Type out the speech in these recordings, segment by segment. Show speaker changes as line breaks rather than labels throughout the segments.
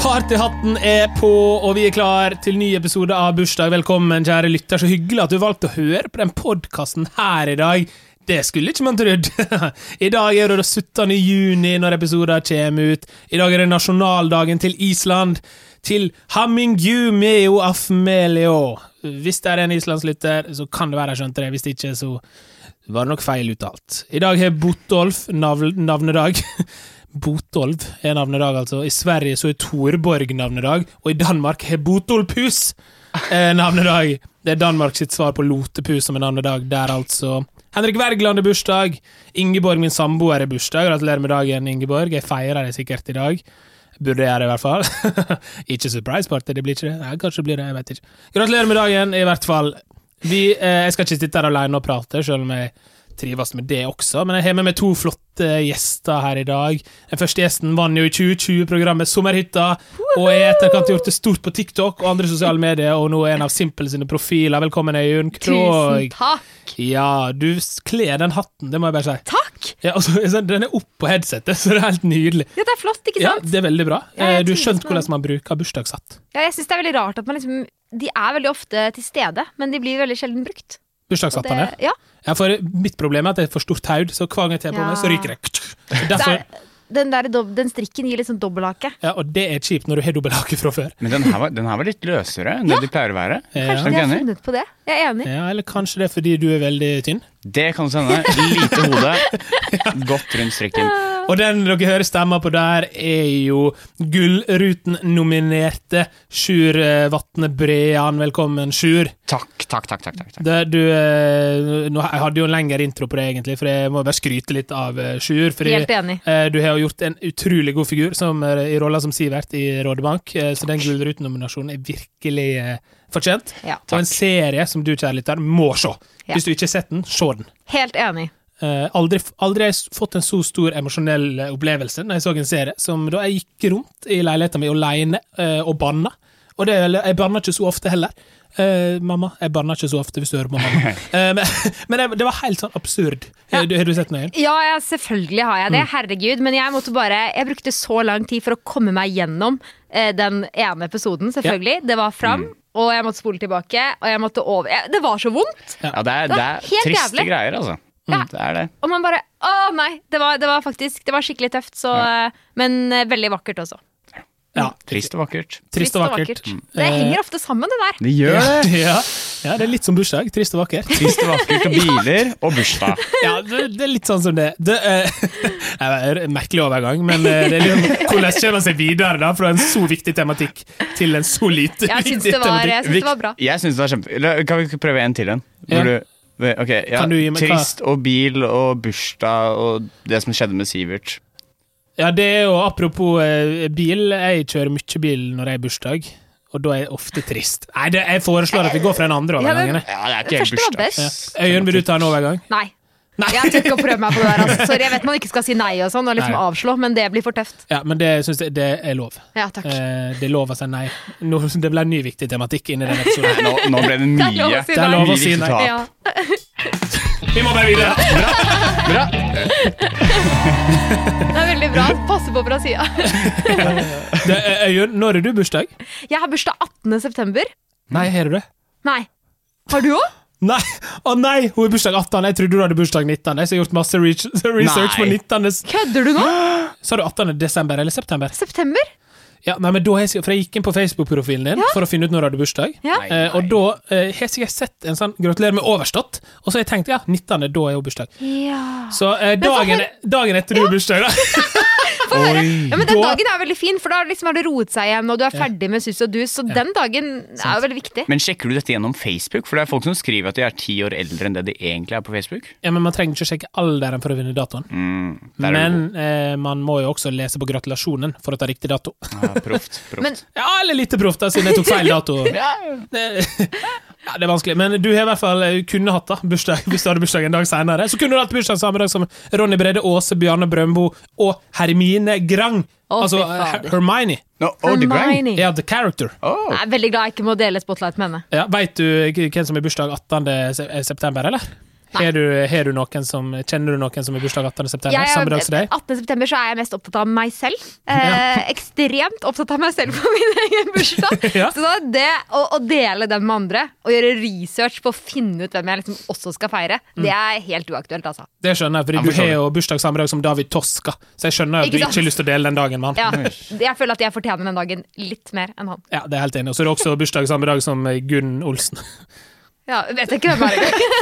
Far til hatten er på, og vi er klar til ny episode av Bursdag. Velkommen, kjære lytter. Så hyggelig at du valgte å høre på den podkasten her i dag. Det skulle ikke man trodd. I dag er det den 17. juni når episoden kommer ut. I dag er det nasjonaldagen til Island. Til Hamingu meo afmelio. Hvis det er en islandslytter, så kan det være jeg skjønte det. Hvis ikke, så var det nok feil uttalt. I dag har Botolf navl- navnedag. Botolv er navnedag, altså. I Sverige så er Torborg navnedag, og i Danmark har Botolpus eh, navnedag. Det er Danmark sitt svar på Lotepus som er navnedag der, altså. Henrik Wergeland er bursdag. Ingeborg, min samboer, er bursdag. Gratulerer med dagen, Ingeborg. Jeg feirer det sikkert i dag. Burde jeg det, i hvert fall. ikke surprise party, det blir ikke det. Nei, kanskje det blir det, jeg vet ikke. Gratulerer med dagen, i hvert fall. Vi, eh, jeg skal ikke sitte her alene og prate, selv om jeg trives med det også, men jeg har med meg to flotte gjester her i dag. Den første gjesten vant jo i 2020-programmet Sommerhytta, og er i etterkant gjort det stort på TikTok og andre sosiale medier, og nå er en av Simple sine profiler. Velkommen, Øyunn
Tusen
Krogh.
takk!
Ja, du s- kler den hatten, det må jeg bare si.
Takk!
Ja, altså, den er oppå headsetet, så det er helt nydelig.
Ja, det er flott, ikke
Ja,
sant?
det er veldig bra.
Ja,
Eh,
jeg
Du har
trives
skjønt
med den.
hvordan man bruker bursdagshatt.
Ja, jeg synes det er veldig rart at man liksom De er veldig ofte til stede, men de blir veldig sjelden brukt. Og
Bursdagshattene.
det- ja.
Ja, for mitt problem er at det er for stort haud, så hver gang jeg tar på
Ja.
meg, så ryker det.
Så
Derfor,
er, den, der, dob- den strikken gir litt sånn dobbelthake.
ja, og det er kjipt når du har dobbelthake fra før.
Men den her, var, den her var litt løsere enn det de pleier å være.
Ja.
Kanskje de
Er
har
du enig?
funnet på det? Jeg er enig.
Ja, eller kanskje det er fordi du er veldig tynn.
Det kan du sende. Lite hode, godt rundt strikken.
Og den dere hører stemmer på der, er jo Gullruten-nominerte Sjur eh, Vatne Brean. Velkommen, Sjur.
Takk, takk, takk. takk, takk, takk.
Det, du, eh, nå, jeg hadde jo en lengre intro på det, egentlig, for jeg må bare skryte litt av eh, Sjur. Fordi
Helt enig.
eh, du har jo gjort en utrolig god figur som, eh, i rolla som Sivert i Rådebank, eh, så den Gullruten-nominasjonen er virkelig eh, fortjent.
Ja.
Og en serie som du, kjære lytter, må se.
Ja.
Hvis du ikke har sett den, se den.
Helt enig.
Eh, aldri, aldri har jeg s- fått en så stor emosjonell eh, opplevelse når jeg så en serie som da jeg gikk rundt i leiligheten min alene eh, og banna. Og det, eller, jeg banna ikke så ofte heller. Eh, mamma, jeg banna ikke så ofte hvis du hører på mamma. Eh, men men det, det var helt sånn absurd. Eh, du, har du sett den øyen?
Ja, ja, selvfølgelig har
Mm.
jeg det. Herregud. Men jeg måtte bare Jeg brukte så lang tid for å komme meg gjennom eh, den ene episoden, selvfølgelig. Det var fram,
Mm.
og jeg måtte spole tilbake, og jeg måtte over jeg, Det var så vondt!
Ja, det er,
Det
det
var
er
helt
triste
jævlig.
greier, altså.
Ja.
Det er det.
Og man bare Å, nei! Det var, det var faktisk Det var skikkelig tøft, så eh, Men eh, veldig vakkert også.
Ja.
Trist og vakkert.
Trist og vakkert. Eh,
Det henger ofte sammen, det der.
Det gjør det!
Ja, ja, det er litt som bursdag. Trist og vakkert.
Trist og vakkert og biler og bursdag.
Ja, det, det er litt sånn som det. det eh, jeg vet, merkelig overgang, men eh, det er liksom, hvordan kommer man seg videre da, fra en så viktig tematikk til en så lite
Jeg syns
viktig
det
tematikk?
var, jeg syns det var bra.
Jeg synes det var kjempe... Eller, Kan vi ikke prøve en til en? Hvor
Ja.
du- Ok, ja.
Kan du gi meg-
Trist og bil og bursdag og det som skjedde med Sivert.
Ja, det er jo apropos eh, bil. Jeg kjører mye bil når jeg har bursdag, og da er jeg ofte trist. Nei, det, jeg foreslår at vi går fra den andre
Ja, men-
overgangen. jeg.
Ja, det er
Den
ikke helt
første var
bursdags.
best. Øyunn, vil du ta en overgang?
Nei.
Nei.
Jeg tør ikke å prøve meg på det der. Altså. Sorry, jeg vet man ikke skal si nei og sånn, og liksom
Nei.
avslå, men det blir for tøft.
Ja, men det syns jeg det er lov.
Ja, takk.
Eh, det er lov å si nei. Nå, det ble en ny viktig tematikk inni den episoden.
Nå, nå ble det mye.
Det er lov å si
Det er
nei.
lov å
mye
si nei.
resultat.
Ja.
Vi må bare videre!
Det er veldig bra. Passe på fra sida.
Det, eh, Øyunn, når har du bursdag?
Jeg har bursdag 18. september.
Nei, har du det?
Nei. Har du òg?
Nei, å nei, hun er bursdag 18. Jeg trodde du hadde bursdag 19. Jeg har gjort masse re- research på
Nei.
19.
Kødder du nå?
Sa du 18. desember eller september?
September?
Ja, nei, men da har jeg, for jeg gikk inn på Facebook-profilen din for å finne ut når du hadde bursdag.
Ja.
Nei,
Eh, og da eh, har jeg sikkert sett en sånn 'gratulerer med overstått', og så har jeg tenkt ja, 19. da er hun bursdag.
ja.
Så eh, dagen, dagen etter du har bursdag, da.
ja men Den
Da-
dagen er veldig fin, for da liksom har det roet seg igjen, og du er ferdig med sus og dus, så den dagen er jo veldig viktig.
Men sjekker du dette gjennom Facebook? For det er folk som skriver at de er ti år eldre enn det de egentlig er på Facebook.
Ja, men man trenger ikke å sjekke alderen for å vinne datoen.
Der er
Men eh, man må jo også lese på gratulasjonen for å ta riktig dato.
du god. Ja, proft, proft.
Men-
Ja, eller litt proft, da, siden jeg tok feil dato.
Ja.
Det, ja, det er vanskelig, men du har i hvert fall eh, kunne hatt da, bursdag hvis du hadde bursdag en dag senere. Så kunne du hatt bursdag samme dag som Ronny Brede Aase, Bjarne Brøndbo og Hermine Grang.
Å,
altså
fy
eh, Her-
fader. Mm.
Hermione.
No, oh, the grind.
Hermione.
Ja, the character.
Oh.
Jeg er veldig glad jeg ikke må dele spotlight med henne.
Ja, Veit du hvem som har bursdag 18. se- eh, september, eller? Har du, har du noen som, kjenner du noen som har bursdag 18. september?
Jeg er-
Samme dag som deg?
18. september så er jeg mest opptatt av meg selv. Eh, ekstremt opptatt av meg selv på min egen bursdag.
Ja.
Så da det å, å dele den med andre og gjøre research på å finne ut hvem jeg liksom også skal feire,
Mm.
det er helt uaktuelt, altså.
Det skjønner jeg,
Ja,
fordi du
forstår
har
det.
jo bursdag samme dag som David Toska, så jeg skjønner at
Ikke
du
sant?
ikke har lyst til å dele den dagen med han.
Ja, jeg føler at jeg fortjener den dagen litt mer enn han.
Ja, det er jeg helt enig. Og så er det også bursdag samme dag som Gunn Olsen.
Ja, vet jeg ikke hvem er det.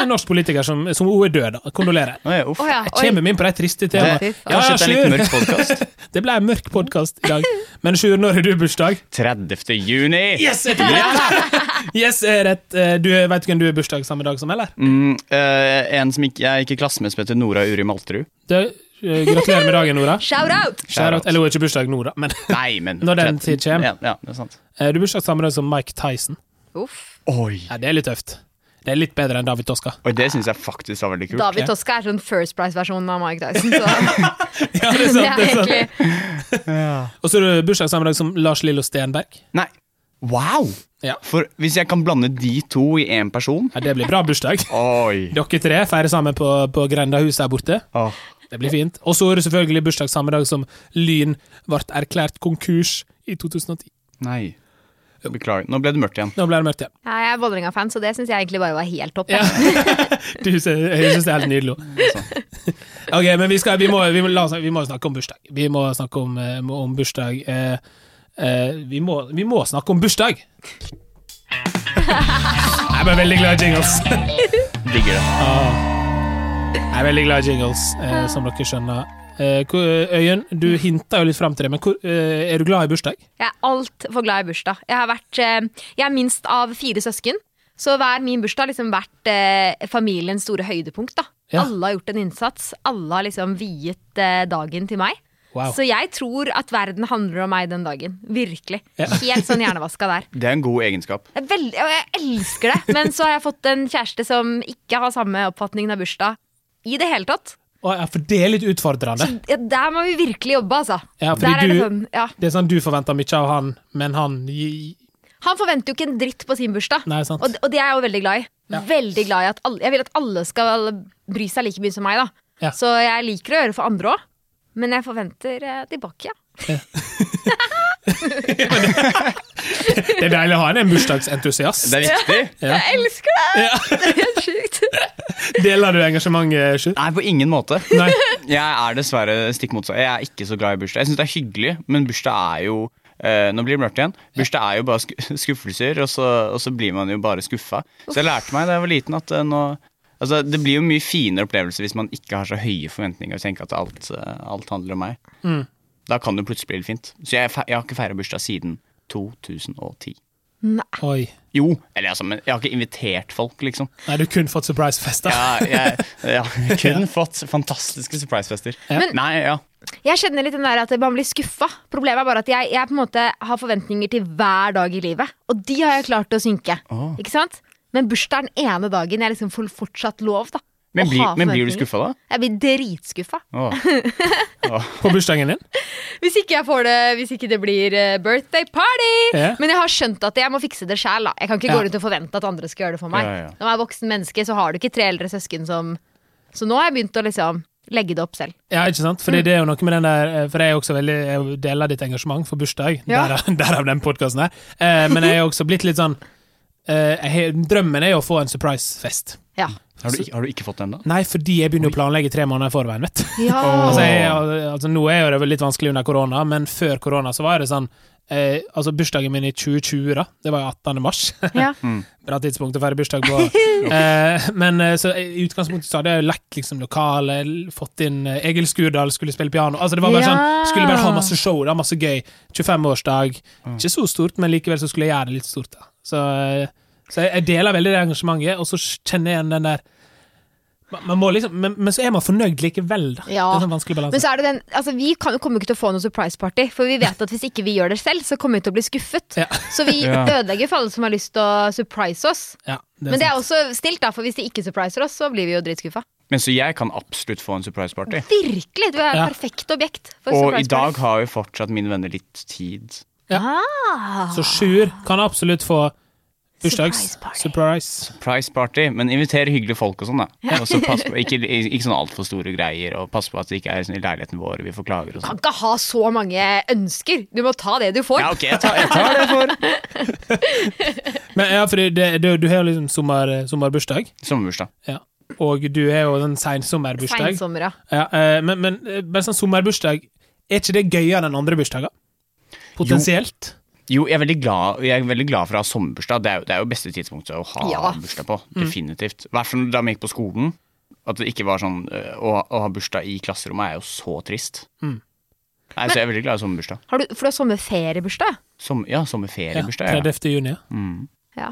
En norsk politiker som, som hun er død, da. Kondolerer.
Oi, uff.
Å ja,
Jeg
oi.
kommer min på de triste
Det,
temaene. Ja,
kanskje
ja,
det er en litt
Sjur.
mørk podkast.
Det ble en mørk podkast i dag. Men Sjur, når har du bursdag?
30. juni!
Yes, jeg tok det! Yes, jeg er rett. Eh, Du vet hvem du har bursdag samme dag som, eller?
Mm, eh, en som ikke, jeg gikk i klasse med, som heter Nora Uri Malterud.
Du, eh, gratulerer med dagen, Nora.
Shout out!
Shout out. Eller hun har ikke bursdag nå, da, men
Nei, men
Når den
30.
tid kommer.
Ja, ja, det er sant.
eh, du har bursdag samme dag som Mike Tyson.
Uff.
Oi.
Ja, det er litt tøft. Det er litt bedre enn David Toska.
Oi, det syns jeg faktisk var veldig kult.
David Toska er sånn First Price-versjonen av Mike Dyson. Så
Ja, det er
det
sant,
er
det er sant.
egentlig
Og så har du bursdag samme dag som Lars Lillo Stenberg.
Nei. Wow!
Ja.
For hvis jeg kan blande de to i én person
Ja, det blir bra bursdag.
Oi.
Dere tre feirer sammen på, på Grendahuset her borte.
Åh.
Det blir fint. Og så er det selvfølgelig bursdag samme dag som Lyn ble erklært konkurs i 2010.
Nei. Beklager. Nå ble det mørkt igjen.
Nå ble det mørkt igjen.
Ja, jeg er Vålerenga-fan, så det syns jeg egentlig bare var helt topp.
Ja.
jeg.
Du sy- jeg syns det er helt nydelig. Ok, men vi, skal, vi, må, vi, må, la oss, vi må snakke om bursdag. Vi må snakke om, eh, om bursdag. Eh, eh, vi, må, vi må snakke om bursdag! Jeg er bare veldig glad i jingles.
Digger det.
Jeg er veldig glad i jingles, eh, som dere skjønner. Eh, hvor- Øyunn, du hinta jo litt fram til det, men hvor, eh, er du glad i bursdag?
Jeg er altfor glad i bursdag. Jeg, har vært, eh, jeg er minst av fire søsken. Så hver min bursdag har liksom vært eh, familiens store høydepunkt. da
Ja.
Alle har gjort en innsats. Alle har liksom viet eh, dagen til meg.
Wow.
Så jeg tror at verden handler om meg den dagen. Virkelig.
Ja.
Helt sånn hjernevaska der.
Det er en god egenskap.
Jeg, er veldig, og jeg elsker det, men så har jeg fått en kjæreste som ikke har samme oppfatningen av bursdag i det hele tatt.
Å, ja, for det er litt
Så
utfordrende.
ja, der må vi virkelig jobbe, altså.
Ja, fordi
der er det
du-
sånn, ja.
Det er sånn du forventer mye av han, men han gi-
Han forventer jo ikke en dritt på sin bursdag,
Nei, sant.
Og, det- og det er jeg jo veldig glad i.
Ja.
Veldig glad i at alle, Jeg vil at alle skal bry seg like mye som meg, da.
Ja.
Så jeg liker å gjøre for andre òg, men jeg forventer eh, tilbake, ja.
Det er deilig å ha en en bursdagsentusiast.
Det er viktig.
Ja.
Jeg elsker det!
Ja.
Det er helt sjukt.
Deler du engasjementet, Sjur?
Nei, på ingen måte.
Nei.
Jeg er dessverre stikk motsatt. Jeg er ikke så glad i bursdag. Jeg syns det er hyggelig, men bursdag er jo eh, Nå blir det mørkt igjen. Bursdag er jo bare sku- skuffelser, og så, og så blir man jo bare skuffa. Så jeg lærte meg da jeg var liten at eh, nå Altså, Det blir jo mye finere opplevelse hvis man ikke har så høye forventninger og tenker at alt, eh, alt handler om meg.
Mm.
Da kan det plutselig bli litt fint. Så jeg, fe- jeg har ikke feira bursdag siden 2010.
Oi.
Jo, eller altså, men jeg har ikke invitert folk, liksom.
Nei, du har kun fått surprise-fest, da.
Ja, jeg, jeg har kun fått fantastiske surprisefester.
Men-
Nei, ja.
Jeg kjenner litt den der at man blir skuffa. Problemet er bare at jeg, jeg på en måte har forventninger til hver dag i livet, og de har jeg klart å synke.
Åh.
Ikke sant? Men bursdag er den ene dagen jeg liksom får fortsatt lov da
Men,
å
blir-
ha
men blir du
forventninger.
skuffa da?
Jeg blir dritskuffa.
Åh.
På bursdagen din.
Hvis ikke jeg får det Hvis ikke det blir eh, birthday party!
Ja.
Men jeg har skjønt at jeg må fikse det sjæl. da. Jeg kan ikke
Ja.
gå rundt og forvente at andre skal gjøre det for meg.
Ja, ja.
Når man er voksen menneske, så har du ikke tre eldre søsken som Så nå har jeg begynt å liksom legge det opp selv.
Ja, ikke sant? Fordi det er jo noe med den der eh, For jeg er også veldig Jeg deler ditt engasjement for bursdag,
Ja.
derav, derav den podkasten her. Eh, men jeg er også blitt litt sånn eh, jeg, har- Drømmen er jo å få en surprise-fest.
Ja.
Har, du, ikke- har du ikke fått den da?
Nei, fordi jeg begynner å planlegge tre måneder i forveien, vet du.
ja.
Altså, jeg, altså, nå er jo det vel litt vanskelig under korona, men før korona så var det sånn eh, Altså, bursdagen min i 2020, da, det var jo 18. mars.
ja.
Mm. Bra tidspunkt å feire bursdag på. eh, men eh, så i utgangspunktet så hadde jeg jo lekt liksom lokale, l- fått inn eh, Egil Skurdal skulle spille piano. Altså det var bare
Ja.
sånn, Skulle bare ha masse show, da, masse gøy. 25-årsdag. Ikke så stort, men likevel så skulle jeg gjøre det litt stort. da. Så, eh, så jeg- jeg deler veldig det engasjementet, og så kjenner jeg igjen den der man, man må liksom, men, men så er man fornøyd likevel, da.
Ja.
Det er en sånn vanskelig
Men
balanse.
så er det den, altså vi kan, kommer ikke til å få noe surprise party, for vi vet at hvis ikke vi gjør det selv, så kommer vi til å bli skuffet.
Ja.
Så vi
Ja.
ødelegger for alle som har lyst til å surprise oss.
Ja, sånn.
Men
sant.
det er også snilt, da, for hvis de ikke surpriser oss, så blir vi jo dritskuffa.
Men så jeg kan absolutt få en surprise party.
Virkelig! Du er et
Ja.
perfekt objekt for
Og i
surprise
dag
party.
har jo
Ah.
fortsatt mine venner litt tid.
Så Sjur kan absolutt få Bursdags.
Surprise party.
Surprise.
Price party, men inviter hyggelige folk og sånn, da. Og så pass på, ikke, ikke sånn altfor store greier, og pass på at det ikke er sånn i leiligheten vår vi får klager
Du
og
kan
sånn.
ikke ha så mange ønsker. Du må ta det du får.
Ja, ok, jeg tar, jeg tar det for
Men ja, for det, det, du har jo liksom sommer, sommerbursdag,
sommerbursdag.
ja. og du har jo den sensommerbursdag.
Seinsommer, ja.
Ja, eh, men, men eh, bare sånn sommerbursdag, er ikke det gøyere enn andre bursdager? Potensielt?
Jo, jeg er veldig glad, jeg er veldig glad for å ha sommerbursdag. Det er, jo- det er jo beste tidspunktet å ha
Ja. Mm.
bursdag på. Definitivt. I hvert fall da vi gikk på skolen. At det ikke var sånn øh, å, å ha bursdag i klasserommet er jo så trist.
Mm.
Nei, så jeg er veldig glad i sommerbursdag.
Har du, for du har sommerferiebursdag.
Som, ja,
Ja,
sommerferiebursdag. Ja,
30. juni. ja.
Ja.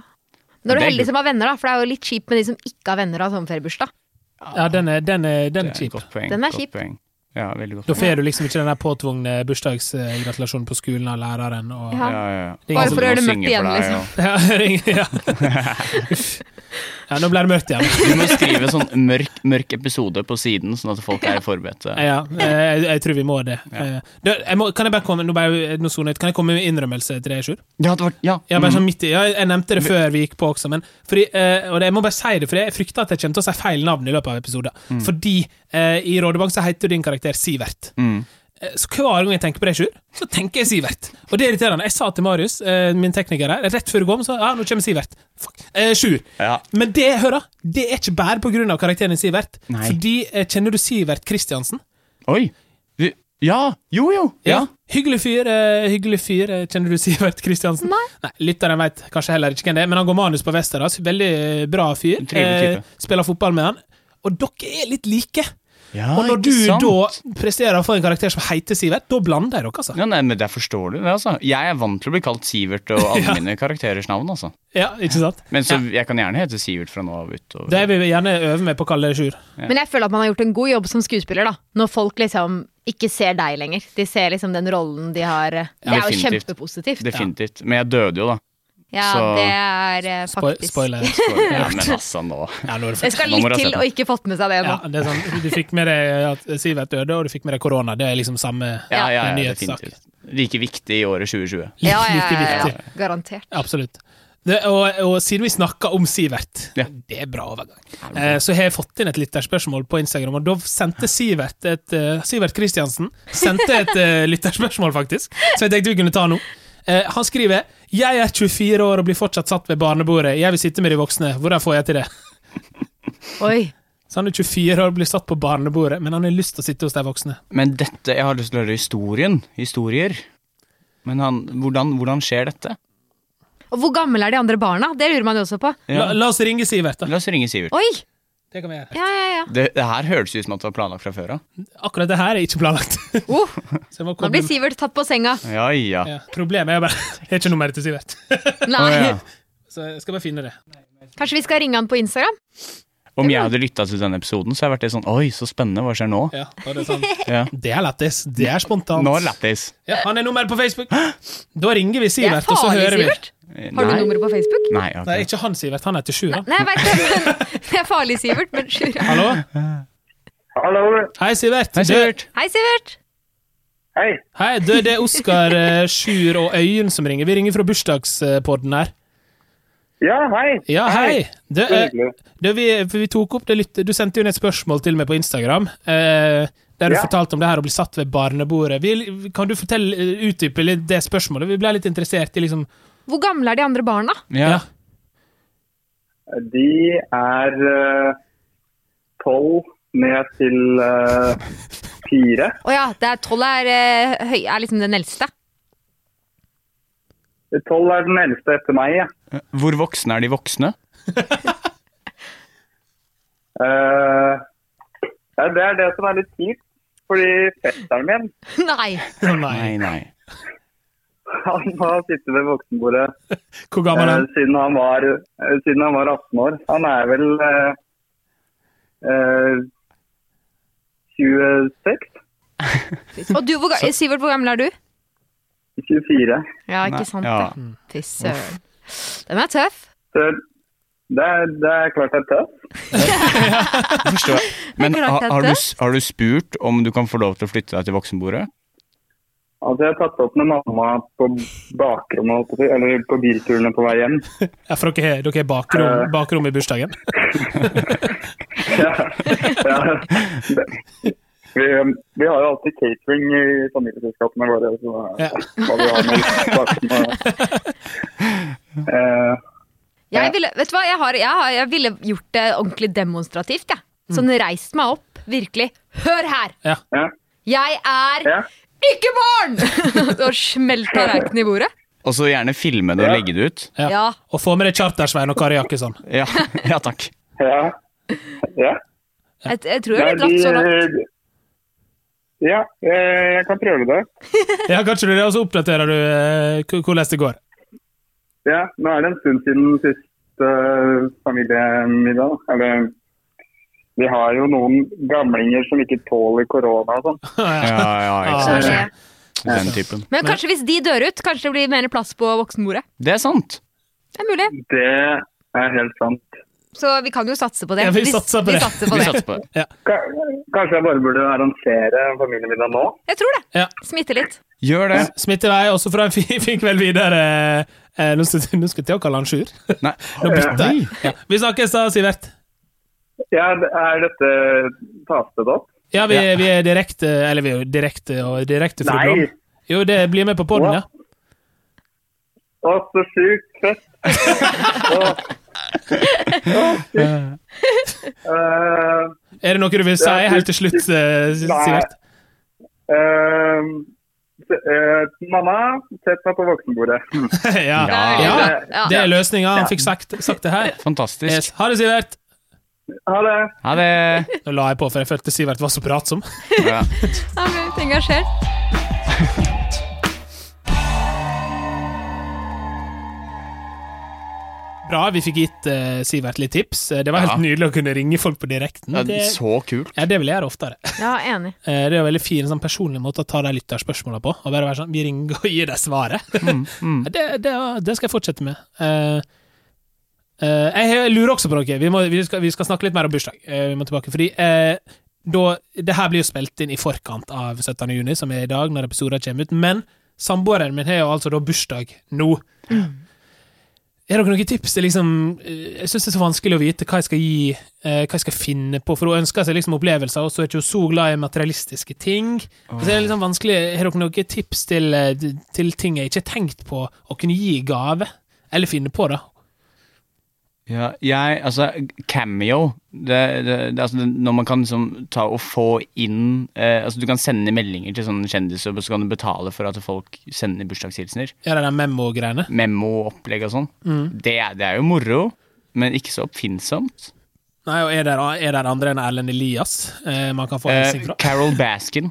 Når du er
Det er
heldig
gu-
som har venner, da. For det er jo litt kjipt med de som ikke har venner og har sommerferiebursdag.
Ja, den er, den er, den
Det
er
er et
kjip.
Godt poeng.
Den er
godt
kjip.
Poeng. Ja, veldig godt.
Da får du liksom ikke den der påtvungne bursdagsgratulasjonen på skolen av læreren. Og,
Ja.
Ja, ja, ja.
Bare
Altså,
for å gjøre
du må
det mørkt
synge
igjen,
for deg,
liksom.
og-
ja. ring- ja. Uff. ja, nå ble det mørkt igjen.
Du må skrive sånn mørk, mørk episode på siden, sånn at folk er forberedt.
Ja, eh, jeg, jeg tror vi må det. Eh, du, jeg må, kan jeg bare komme nå bare, nå soner jeg ut. Kan jeg komme med innrømmelse til deg, Sjur?
Ja, det var, ja. Mm.
Ja, bare sånn midt i, ja, jeg nevnte det før vi gikk på også, men fordi, eh, og det, jeg må bare si det, for jeg frykter at jeg kommer til å si feil navn i løpet av episoden. Fordi eh, i Rådebank så heter jo din karakter Sivert.
Mm.
Eh, Så hver gang jeg tenker på det, Sjur, så tenker jeg Sivert. Og det er irriterende. Jeg sa til Marius, eh, min tekniker her, rett før du kom, så ja, nå kommer Sivert. Fuck. Eh, Sjur.
Ja.
Men det, hør da, det er ikke bare på grunn av karakteren Sivert.
Nei.
Fordi, eh, kjenner du Sivert Kristiansen?
Oi! Du, ja! Jo, jo!
Ja. Hyggelig fyr. eh, hyggelig fyr. eh, Kjenner du Sivert Kristiansen? Nei. Lytteren veit kanskje heller ikke hvem det er, men han går manus på Westerdals. Veldig eh, bra fyr. Eh,
En trivelig type.
spiller fotball med han. Og dere er litt like.
Ja,
og når
ikke
du
sant?
da presterer å få en karakter som heter Sivert, da blander dere, altså.
Ja, nei, men Der forstår du det, altså. Jeg er vant til å bli kalt Sivert og alle mine karakterers navn, altså.
Ja, ikke sant?
Men så
Ja.
jeg kan gjerne hete Sivert fra nå av utover.
Det vil vi gjerne øve med på å kalle det Sjur.
Men jeg føler at man har gjort en god jobb som skuespiller, da. Når folk liksom ikke ser deg lenger. De ser liksom den rollen de har. eh, Det
Ja,
er jo
definitivt.
kjempepositivt.
Definitivt. Men jeg døde jo, da.
Ja,
Så-
det er eh,
Spoil-
faktisk
Spoiler.
Så, ja, men altså, nå
Ja, nå er det
Det
fint.
skal
Nå må
litt
du ha sett
til
den.
å ikke fått med seg det nå.
Ja, det er sånn, du fikk med deg at Sivert døde, og du fikk med deg korona. Det er liksom samme
Ja, ja, ja,
nyhetssak.
definitivt. Like viktig i året 2020.
Ja, ja,
like
ja, ja,
viktig.
ja. Garantert.
Absolutt. Det, og, og siden vi snakka om Sivert,
Ja.
det er bra overgang, eh, så har jeg fått inn et lytterspørsmål på Instagram, og da sendte Sivert et, eh, Sivert Kristiansen sendte et eh, lytterspørsmål, faktisk, som jeg tenkte vi kunne ta nå. Eh, han skriver 'Jeg er 24 år og blir fortsatt satt ved barnebordet. Jeg vil sitte med de voksne. Hvordan får jeg til det?'
Oi.
Så han er 24 år og blir satt på barnebordet, men han har lyst til å sitte hos de voksne.
Men dette Jeg har lyst til å høre historien. Historier. Men han, hvordan, hvordan skjer dette?
Og hvor gammel er de andre barna? Det lurer man jo også på.
Ja.
La, la oss ringe Sivert, da.
La oss ringe Sivert.
Oi!
Det kan vi gjøre.
Ja, ja, ja.
Det, det her høres ut som at det var planlagt fra før av.
Akkurat det her er ikke planlagt.
Oh,
Så jeg må
nå
komme-
blir Sivert tatt på senga.
Ja, ja.
ja. Problemet er bare Jeg har ikke nummeret til Sivert.
Å,
Nei.
ja.
Så jeg skal bare finne det.
Kanskje vi skal ringe han på Instagram?
Om jeg hadde lytta til denne episoden, så hadde jeg vært litt sånn Oi, så spennende, hva skjer nå?
Ja, og det, er sånn.
Ja.
det er lættis. Det er spontant.
Nå er det lættis.
Ja, han er nummer på Facebook. Da ringer vi
Det er
Sivert, og så
farlig,
hører vi.
Sivert. Har du
Nei.
nummeret på Facebook?
Nei, ok.
Nei, ikke han Sivert. Han heter Sjura.
Nei, jeg vet det, men det er farlig, Sivert. Men Sjur-
Hallo?
Hallo.
Hei, Sivert.
Hei, Sivert.
Hei, Sivert.
Hei.
Du- Hei, du, det er Oskar, eh, Sjur og Øyunn som ringer. Vi ringer fra bursdagspodden her.
Ja, hei.
Ja, hei. Du,
Så
eh,
hyggelig.
du, vi, for vi tok opp det litt Du sendte jo inn et spørsmål til meg på Instagram. eh, Der du
Ja.
fortalte om det her å bli satt ved barnebordet. Vi, kan du fortelle, eh, utdype litt det spørsmålet? Vi ble litt interessert i liksom
Hvor gamle er de andre barna?
Ja.
De er eh, tolv ned til eh, fire.
Å ja, det er tolv er, eh, høy- er liksom den eldste.
Tolv er den eldste etter meg. Ja.
Hvor voksne er de voksne?
Eh, ja, det er det som er litt kjipt. Fordi fetteren min
Nei.
Å, Nei.
Nei, nei.
han har sittet ved voksenbordet
Hvor gammel er
eh,
han?
siden, han var, eh, siden han var 18 år. Han er vel eh, eh, 26?
Og du, hvor, ga- Sivert, hvor gammel er du?
24.
Ja,
Nei,
ikke sant
ja.
det. Fy søren. Den er tøff.
Så det er, det er klart det er tøft.
Jeg Forstår. Men
Det er klart det er
har, har, du,
det.
s- har du spurt om du kan få lov til å flytte deg til voksenbordet?
Altså, jeg har tatt opp med mamma på bakrommet, holdt jeg på å si, eller på bilturene på vei hjem.
Ja, for dere har- dere har bakrom, bakrom i bursdagen?
Ja. Ja. Vi, vi har jo alltid catering i familieselskapene våre. Så
Ja.
hva vi har med bakrom og... Eh,
Jeg ville, vet du hva, jeg, har, jeg, har, jeg ville gjort det ordentlig demonstrativt, jeg. Sånn reist meg opp, virkelig. Hør her!
Ja.
ja.
Jeg er
Ja.
ikke barn! og smelt tallerkenen i bordet.
Og så gjerne filme det og
Ja.
legge det ut.
Ja.
Ja.
Og få med deg Chartersvein og sånn. Kari Jakkesson.
Ja, ja takk.
Ja. ja.
Jeg, jeg tror jeg ville dratt
Nei,
så langt.
de- Ja, eh, jeg kan prøve det.
Ja, kanskje du det, og så oppdaterer du eh, k- hvordan det går.
Ja, nå er det en stund siden siste eh, familiemiddag. da. Eller vi har jo noen gamlinger som ikke tåler korona og sånn.
Ja, ja,
Ja, det
ikke
er
sant. Den typen.
Men kanskje hvis de dør ut, kanskje det blir mer plass på voksenbordet.
Det er sant.
Det er mulig.
Det er helt sant.
Så vi kan jo satse på det.
Ja, vi
Hvis-
satser på det.
Vi satser på
Vi
det.
satser på det.
Ka- Kanskje jeg bare burde arrangere en familiemiddag nå?
Jeg tror det.
Ja.
Smitte litt.
Gjør det.
Smitt i vei, og så får du en fin, fin kveld videre. Eh, nå skal nå skal jeg til å kalle han Sjur.
Nei.
Nå bytter jeg. Ja. Vi snakkes da, Sivert.
Ja, er dette tastet opp?
Ja, vi, vi er direkte Eller vi er jo direkte og direkte fra
Nei.
Blom. Jo, det blir med på podden, ja.
Å, så sjukt fett! Å. Å, fy. Eh,
Er det noe du vil si helt til slutt, eh, S-
Nei.
Sivert?
eh, se- eh, mamma, sett meg på voksenbordet.
Ja.
Ja.
ja.
Ja.
Det er løsninga. Han fikk sagt, sagt det her.
Fantastisk.
Yes. Ha det, Sivert.
Ha det!
Ha det.
Nå la jeg på, for jeg følte Sivert var så pratsom.
Ja.
Han ble litt engasjert.
Bra, vi fikk gitt eh, Sivert litt tips. Eh, Det var helt
Ja.
nydelig å kunne ringe folk på direkten.
Ja,
Det,
Så kult.
ja, det vil jeg gjøre oftere.
Ja, enig.
Eh, Det er jo veldig fin sånn personlig måte å ta de lytterspørsmåla på. Og bare være sånn, Vi ringer og gir deg svaret.
Mm,
Det, det, det skal jeg fortsette med. Eh, eh, jeg lurer også på noe. Vi, må, vi, skal, vi skal snakke litt mer om bursdag. Eh, vi må tilbake, fordi eh, da, det her blir jo spilt inn i forkant av 17. juni, som er i dag, når episoden kommer ut. Men samboeren min har jo altså da bursdag nå. Er dere noen tips? Det er liksom, eh, jeg syns det er så vanskelig å vite hva jeg skal gi, eh, hva jeg skal finne på, for hun ønsker seg liksom opplevelser, og så er ikke hun så glad i materialistiske ting. Og Så er det liksom vanskelig, Har dere noen tips til, eh, til ting jeg ikke har tenkt på å kunne gi i gave? Eller finne på, da.
Ja, jeg, altså, cameo det, det, det, altså, det, Når man kan liksom ta og få inn eh, altså, Du kan sende meldinger til sånne kjendiser, og så kan du betale for at folk sender bursdagshilsener.
Ja, det der memo-greiene.
Memo-opplegg og sånn. Det, er- det er jo moro, men ikke så oppfinnsomt.
Nei, og er det, er der andre enn Erlend Elias eh, man kan få
Eh,
hilsen fra?
Carol Baskin.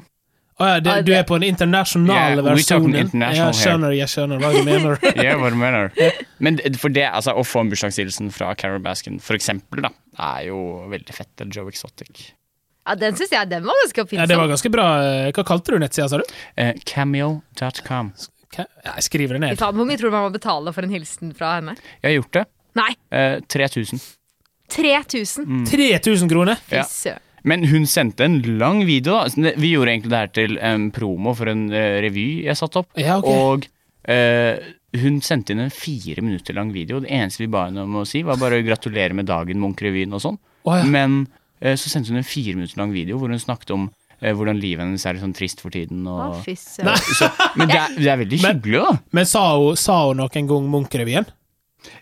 Å ja, det, du er på den internasjonale
Yeah, we're talking
versjonen.
international
jeg skjønner, jeg skjønner hva du mener.
Ja, hva du mener. Men det- for det, altså, å få en bursdagshilsen fra Carol Baskin, for eksempel, da, er jo veldig fett. Eller Joe Exotic.
Ja, den syns jeg den var ganske
Ja, det
oppfinnsom.
var ganske bra. eh, Hva kalte du nettsida, sa du?
Eh, cameo.com.
Hva? Ja, jeg skriver det
Fy
ned.
faen, Hvor mye tror du man må betale for en hilsen fra henne?
Jeg har gjort det.
Nei,
Eh, 3000.
3000!
Mm. 3000 kroner!
Fy
Ja.
søren.
Men hun sendte en lang video. da Så det- Vi gjorde egentlig det her til en promo for en eh, revy jeg satte opp.
Ja, ok.
Og eh, hun sendte inn en fire minutter lang video. Det eneste vi ba henne om å si, var bare 'gratulerer med dagen, Munch-revyen' og sånn.
Å, ja.
Men eh, så sendte hun en fire minutter lang video hvor hun snakket om eh, hvordan livet hennes er litt sånn trist for tiden.
Å,
Og... Eh,
fy søren.
Så, men det er, det er veldig
Men-
hyggelig, da.
Men sa hun, sa hun noen gang Munch-revyen?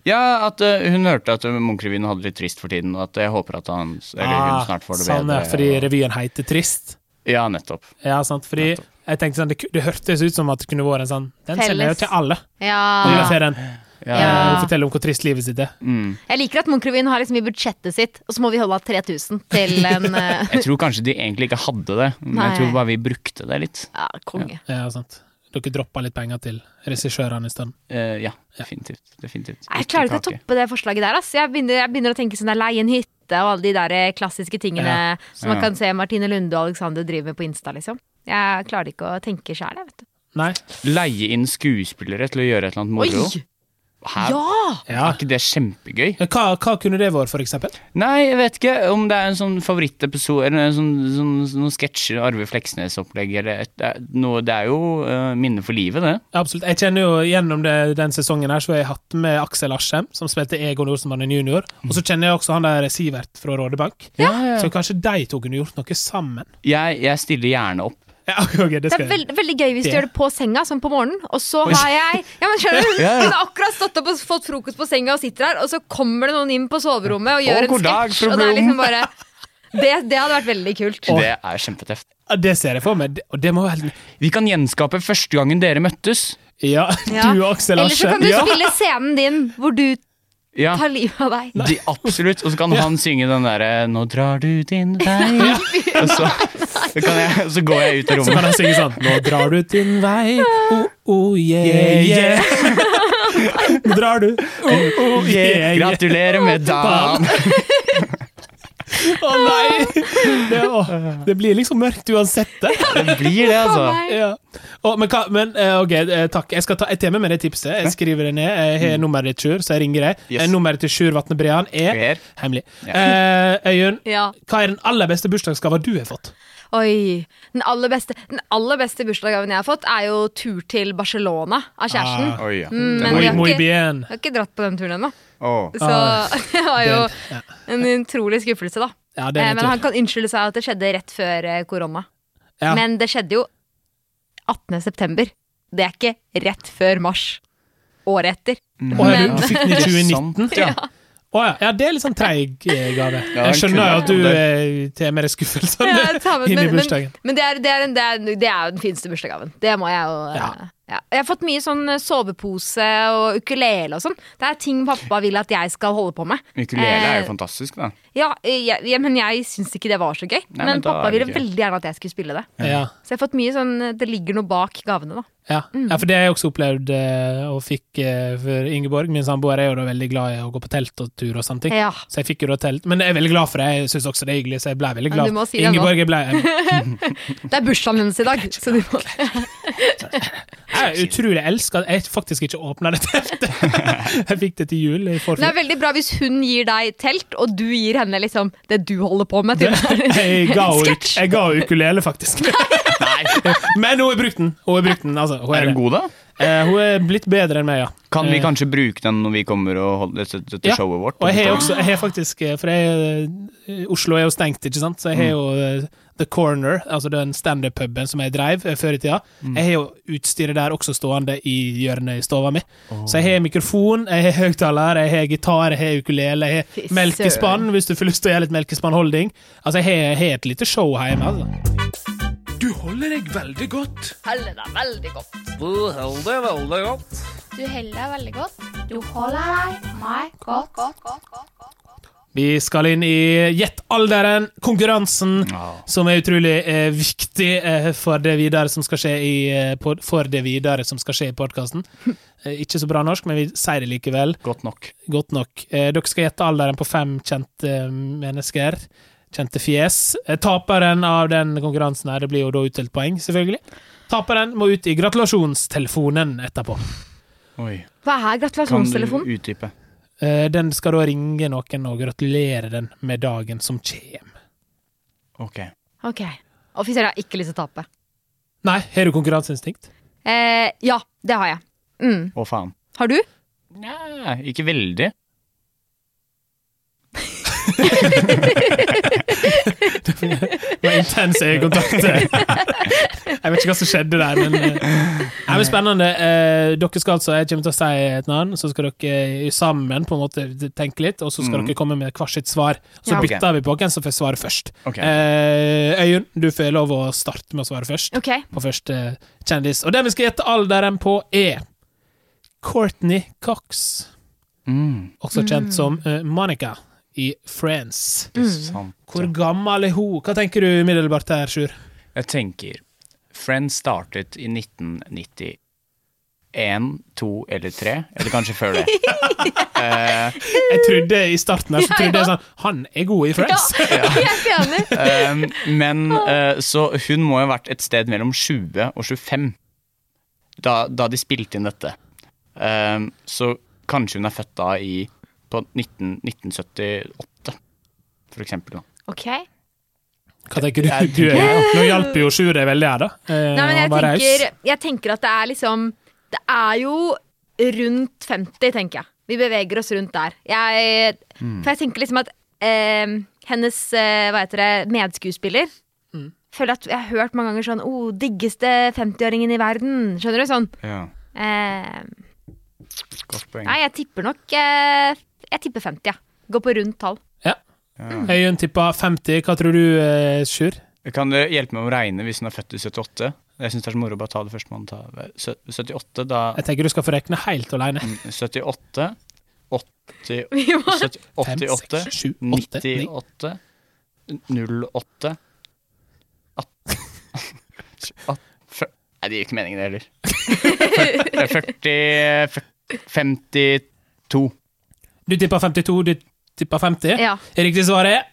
Ja, at eh, hun hørte at eh, Munch-revyen hadde det litt trist for tiden, og at jeg håper at han eller hun snart får det
sånn,
bedre.
ja, fordi
og-
revyen heter Trist.
Ja, nettopp.
Ja, sant, fordi jeg tenkte sånn, det, ku- det hørtes ut som at det kunne vært en sånn Den sender jeg
Felles.
jo til alle.
Ja.
Juleferien.
Ja.
Ja.
Ja.
Fortell Eh, om hvor trist livet sitt er.
Mm.
Jeg liker at Munch-revyen har liksom i budsjettet sitt, og så må vi holde av 3000 til en eh,
Jeg tror kanskje de egentlig ikke hadde det, men
Nei.
jeg tror bare vi brukte det litt.
Ja, konge.
Ja, sant. Dere droppa litt penger til regissørene i stedet.
Eh, ja, definitivt. definitivt.
Jeg klarer ikke å
Kake.
toppe det forslaget der. Ass. Jeg, begynner, jeg begynner å tenke sånn der leie en hytte og alle de der eh, klassiske tingene
Ja.
som man
Ja.
kan se Martine Lunde og Alexander driver med på Insta, liksom. Jeg klarer ikke å tenke sjæl, jeg, vet du.
Nei.
Leie inn skuespillere til å gjøre et eller annet moro.
Oi!
Hæ?
Ja!
Ja.
Er ikke det kjempegøy?
Hva, hva kunne det vært, for eksempel?
Nei, jeg vet ikke om det er en sånn favorittepisode eller en sånn, sånn, noen sketsjer, Arve Fleksnes-opplegg eller et, det er noe. Det er jo eh, minne for livet, det.
Absolutt. Jeg kjenner jo Gjennom det, den sesongen her Så har jeg hatt med Aksel Aschem, som spilte Egon Olsenmannen jr. Og så kjenner jeg også han der Sivert fra Rådebank. Så kanskje de to kunne gjort noe sammen.
Jeg, jeg stiller gjerne opp.
Ja, ok, det
Det
skal
er
jeg.
veld, veldig gøy hvis du
Det-
gjør det på senga, sånn på morgenen. Og så har jeg Ja, men skjønner du?
Ja, ja.
Hun har akkurat stått opp og fått frokost på senga og sitter her, og så kommer det noen inn på soverommet og gjør
Å, god
en
dag,
sketsj,
fru
og det er
Blom.
liksom bare det, det hadde vært veldig kult.
Det er kjempetøft.
Ja, det ser jeg for meg. Det- Og det må vel
Vi kan gjenskape første gangen dere møttes.
Ja,
Ja.
du og Aksel
Eller så
Aschem.
kan du
Ja.
spille scenen din hvor du
Ja,
tar livet av deg.
de, absolutt. Og så kan han synge den derre 'Nå drar du din vei'. Og så, så, kan jeg, så går jeg ut av
Så kan
rommet.
han synge sånn Nå drar du din vei, oh, oh, yeah, yeah. Nå drar du, oh, oh, yeah, yeah.
Gratulerer med dagen!
Å nei! Det, å, det blir liksom mørkt uansett, det.
Det blir det,
Å,
altså.
nei.
Ja. Å, men hva, men eh, ok, eh, takk. Jeg skal ta et tema med det tipset. Jeg skriver det ned. Jeg har nummeret ditt, Sjur, så jeg ringer deg.
Mm. Yes.
Eh, Nummeret til Sjur Vatne Brean er
Per.
hemmelig.
Ja.
Eh, Øyunn,
Ja.
hva er den aller beste bursdagsgava du har fått?
Oi. Den aller beste, den aller beste bursdagsgaven jeg har fått, er jo tur til Barcelona av kjæresten.
Ah,
Oi, ja.
Mm,
Den
men
var-
vi
Muy,
har
muy
ikke-
bien.
Jeg har ikke dratt på den turen ennå,
Å.
så
Ah,
det var jo
den-
en utrolig skuffelse, da.
Ja, det
Eh,
er
Men han
nettopp.
kan unnskylde seg at det skjedde rett før eh, korona.
Ja.
Men det skjedde jo 18. september. Det er ikke rett før mars. Året etter.
Å, ja, du,
Men-
du fikk den i
Mm. Det er
2019?
sant, ja.
Å ja. ja, det er litt sånn treig eh, gave.
Ja,
Jeg skjønner jo
den
at
kunne
du
vært
eh, tar med deg skuffelsene
Ja, jeg tar med-
inn i
men- men-
bursdagen.
Men det er, det, er en, det, er, det er jo den fineste bursdagsgaven. Det må jeg jo eh,
Ja.
ja. Jeg har fått mye sånn eh, sovepose og ukulele og sånn. Det er ting pappa vil at jeg skal holde på med.
Ukulele er
Eh,
jo fantastisk, da.
Ja, eh, jeg, jeg- men jeg syns ikke det var så gøy.
Nei,
men
men da
pappa
er det
ville
gøy.
veldig gjerne at jeg skulle spille det.
Ja.
Så jeg har fått mye sånn eh, Det ligger noe bak gavene, da.
Ja. ja, for det har jeg også opplevd eh, og fikk eh, for Ingeborg, min samboer, er jo da veldig glad i å gå på telt og tur og sånne ting.
Ja.
Så jeg fikk jo da telt, men jeg er veldig glad for det. Jeg syns også det er hyggelig, så jeg ble veldig
Men
glad.
du må si det nå.
Ingeborg, jeg ble jeg
Det er bursdagen hennes i dag, så du må
er utrolig elska at jeg faktisk ikke åpna det teltet. jeg fikk det til jul i
Det er
forfjor.
veldig bra hvis hun gir deg telt, og du gir henne liksom det du holder på med. Til
Jeg ga henne
Sketsj.
jeg ga henne ukulele, faktisk. Men hun har brukt den. Hun har brukt den, altså. Hun
Er
er,
den god, da?
det. Eh, hun er blitt bedre enn meg, ja.
Kan vi
Eh,
kanskje bruke den når vi kommer og holder dette, dette
Ja,
showet vårt?
Og jeg har også, jeg har faktisk eh, For jeg, eh, Oslo er jo stengt, ikke sant?
Mm.
Så jeg har jo eh, The Corner, altså den standup-puben som jeg dreiv eh, før i tida.
Mm.
Jeg har jo utstyret der også stående i hjørnet i stua mi. Så jeg har mikrofon, jeg har høyttaler, jeg har gitar, jeg har ukulele, jeg
Fy
har melkespann hvis du får lyst til å gjøre litt melkespannholding. Altså, jeg har, jeg har et lite show hjemme, altså. Du holder deg veldig godt.
Heller deg veldig godt.
Du holder deg veldig godt. Du holder deg meg godt.
Vi skal inn i Gjett alderen, konkurransen.
Ja.
som er utrolig eh, viktig eh, for det videre som skal skje i eh, pod for det videre som skal skje i podkasten. Eh, ikke så bra norsk, men vi sier det likevel
Godt nok.
godt nok. Eh, dere skal gjette alderen på fem kjente eh, mennesker. Kjente fjes. Eh, taperen av den konkurransen her, det blir jo da utdelt poeng, selvfølgelig. Taperen må ut i gratulasjonstelefonen etterpå.
Oi.
Hva er
Kan du
gratulasjonstelefonen?
utdype?
Eh, den skal da ringe noen og gratulere den med dagen som kjem.
Ok.
Ok. Offiser har ikke lyst til å tape.
Nei, har du konkurranseinstinkt?
Eh, ja, det har jeg. Mm.
Å, faen.
Har du?
Nei, ikke veldig.
Det var intens øyekontakt. Jeg vet ikke hva som skjedde der, men eh, Nei, men Spennende. Eh, Dere skal altså, Jeg kommer til å si et navn, så skal dere eh, sammen på en måte tenke litt, og så skal
Mm.
dere komme med hvert sitt svar. Så
Ja.
bytter vi på hvem som får svare først.
Ok.
Eh, Øyunn, du får lov å starte med å svare først
Ok.
på første eh, kjendis. Og den vi skal gjette alderen på, er Courtney Cox,
Mm. Mm.
også kjent som eh, Monica i Friends.
Sant.
Hvor gammel er hun? Hva tenker du umiddelbart her, Sjur?
Jeg tenker Friends startet i 1991, 2 eller 3, eller kanskje før det.
Jeg trodde i starten her, så
Ja,
trodde jeg
ja.
sånn Han er god i
Ja,
Friends.
jeg er så enig.
Um, men eh, så hun må jo ha vært et sted mellom 20 og 25 da, da de spilte inn dette. Um, så Kanskje hun er født da i på 19, 1978, for eksempel. Da.
Ok.
Hva tenker du? du er- nå hjalp jo Sjur deg veldig her, da. Eh,
Nei, men
han
jeg
var
tenker,
raus.
jeg tenker at det er liksom Det er jo rundt 50, tenker jeg. Vi beveger oss rundt der. Jeg, For jeg tenker liksom at eh, hennes eh, hva heter det, medskuespiller Føler at Jeg har hørt mange ganger sånn oh, 'Diggeste 50-åringen i verden'. Skjønner du? Sånn.
Ja,
Eh,
godt poeng.
nei, jeg tipper nok eh, Jeg tipper 50, ja. Går på rundt tall.
Ja.
Ja.
Øyunn tippa 50. Hva tror du, eh, Sjur?
Kan det hjelpe meg å regne hvis hun er født i 78? Jeg syns det er så moro å bare ta det første man tar. Sø- 78, da
Jeg tenker du skal få rekne helt alene.
78 80
Vi må
70, 88
seks, sju, åtte, ni.
98 08 18 Nei, det gir ikke meningen, det heller. Fyr- 40 fyr- 52.
Du tippa 52, du tippa 50.
Ja.
Riktig svar er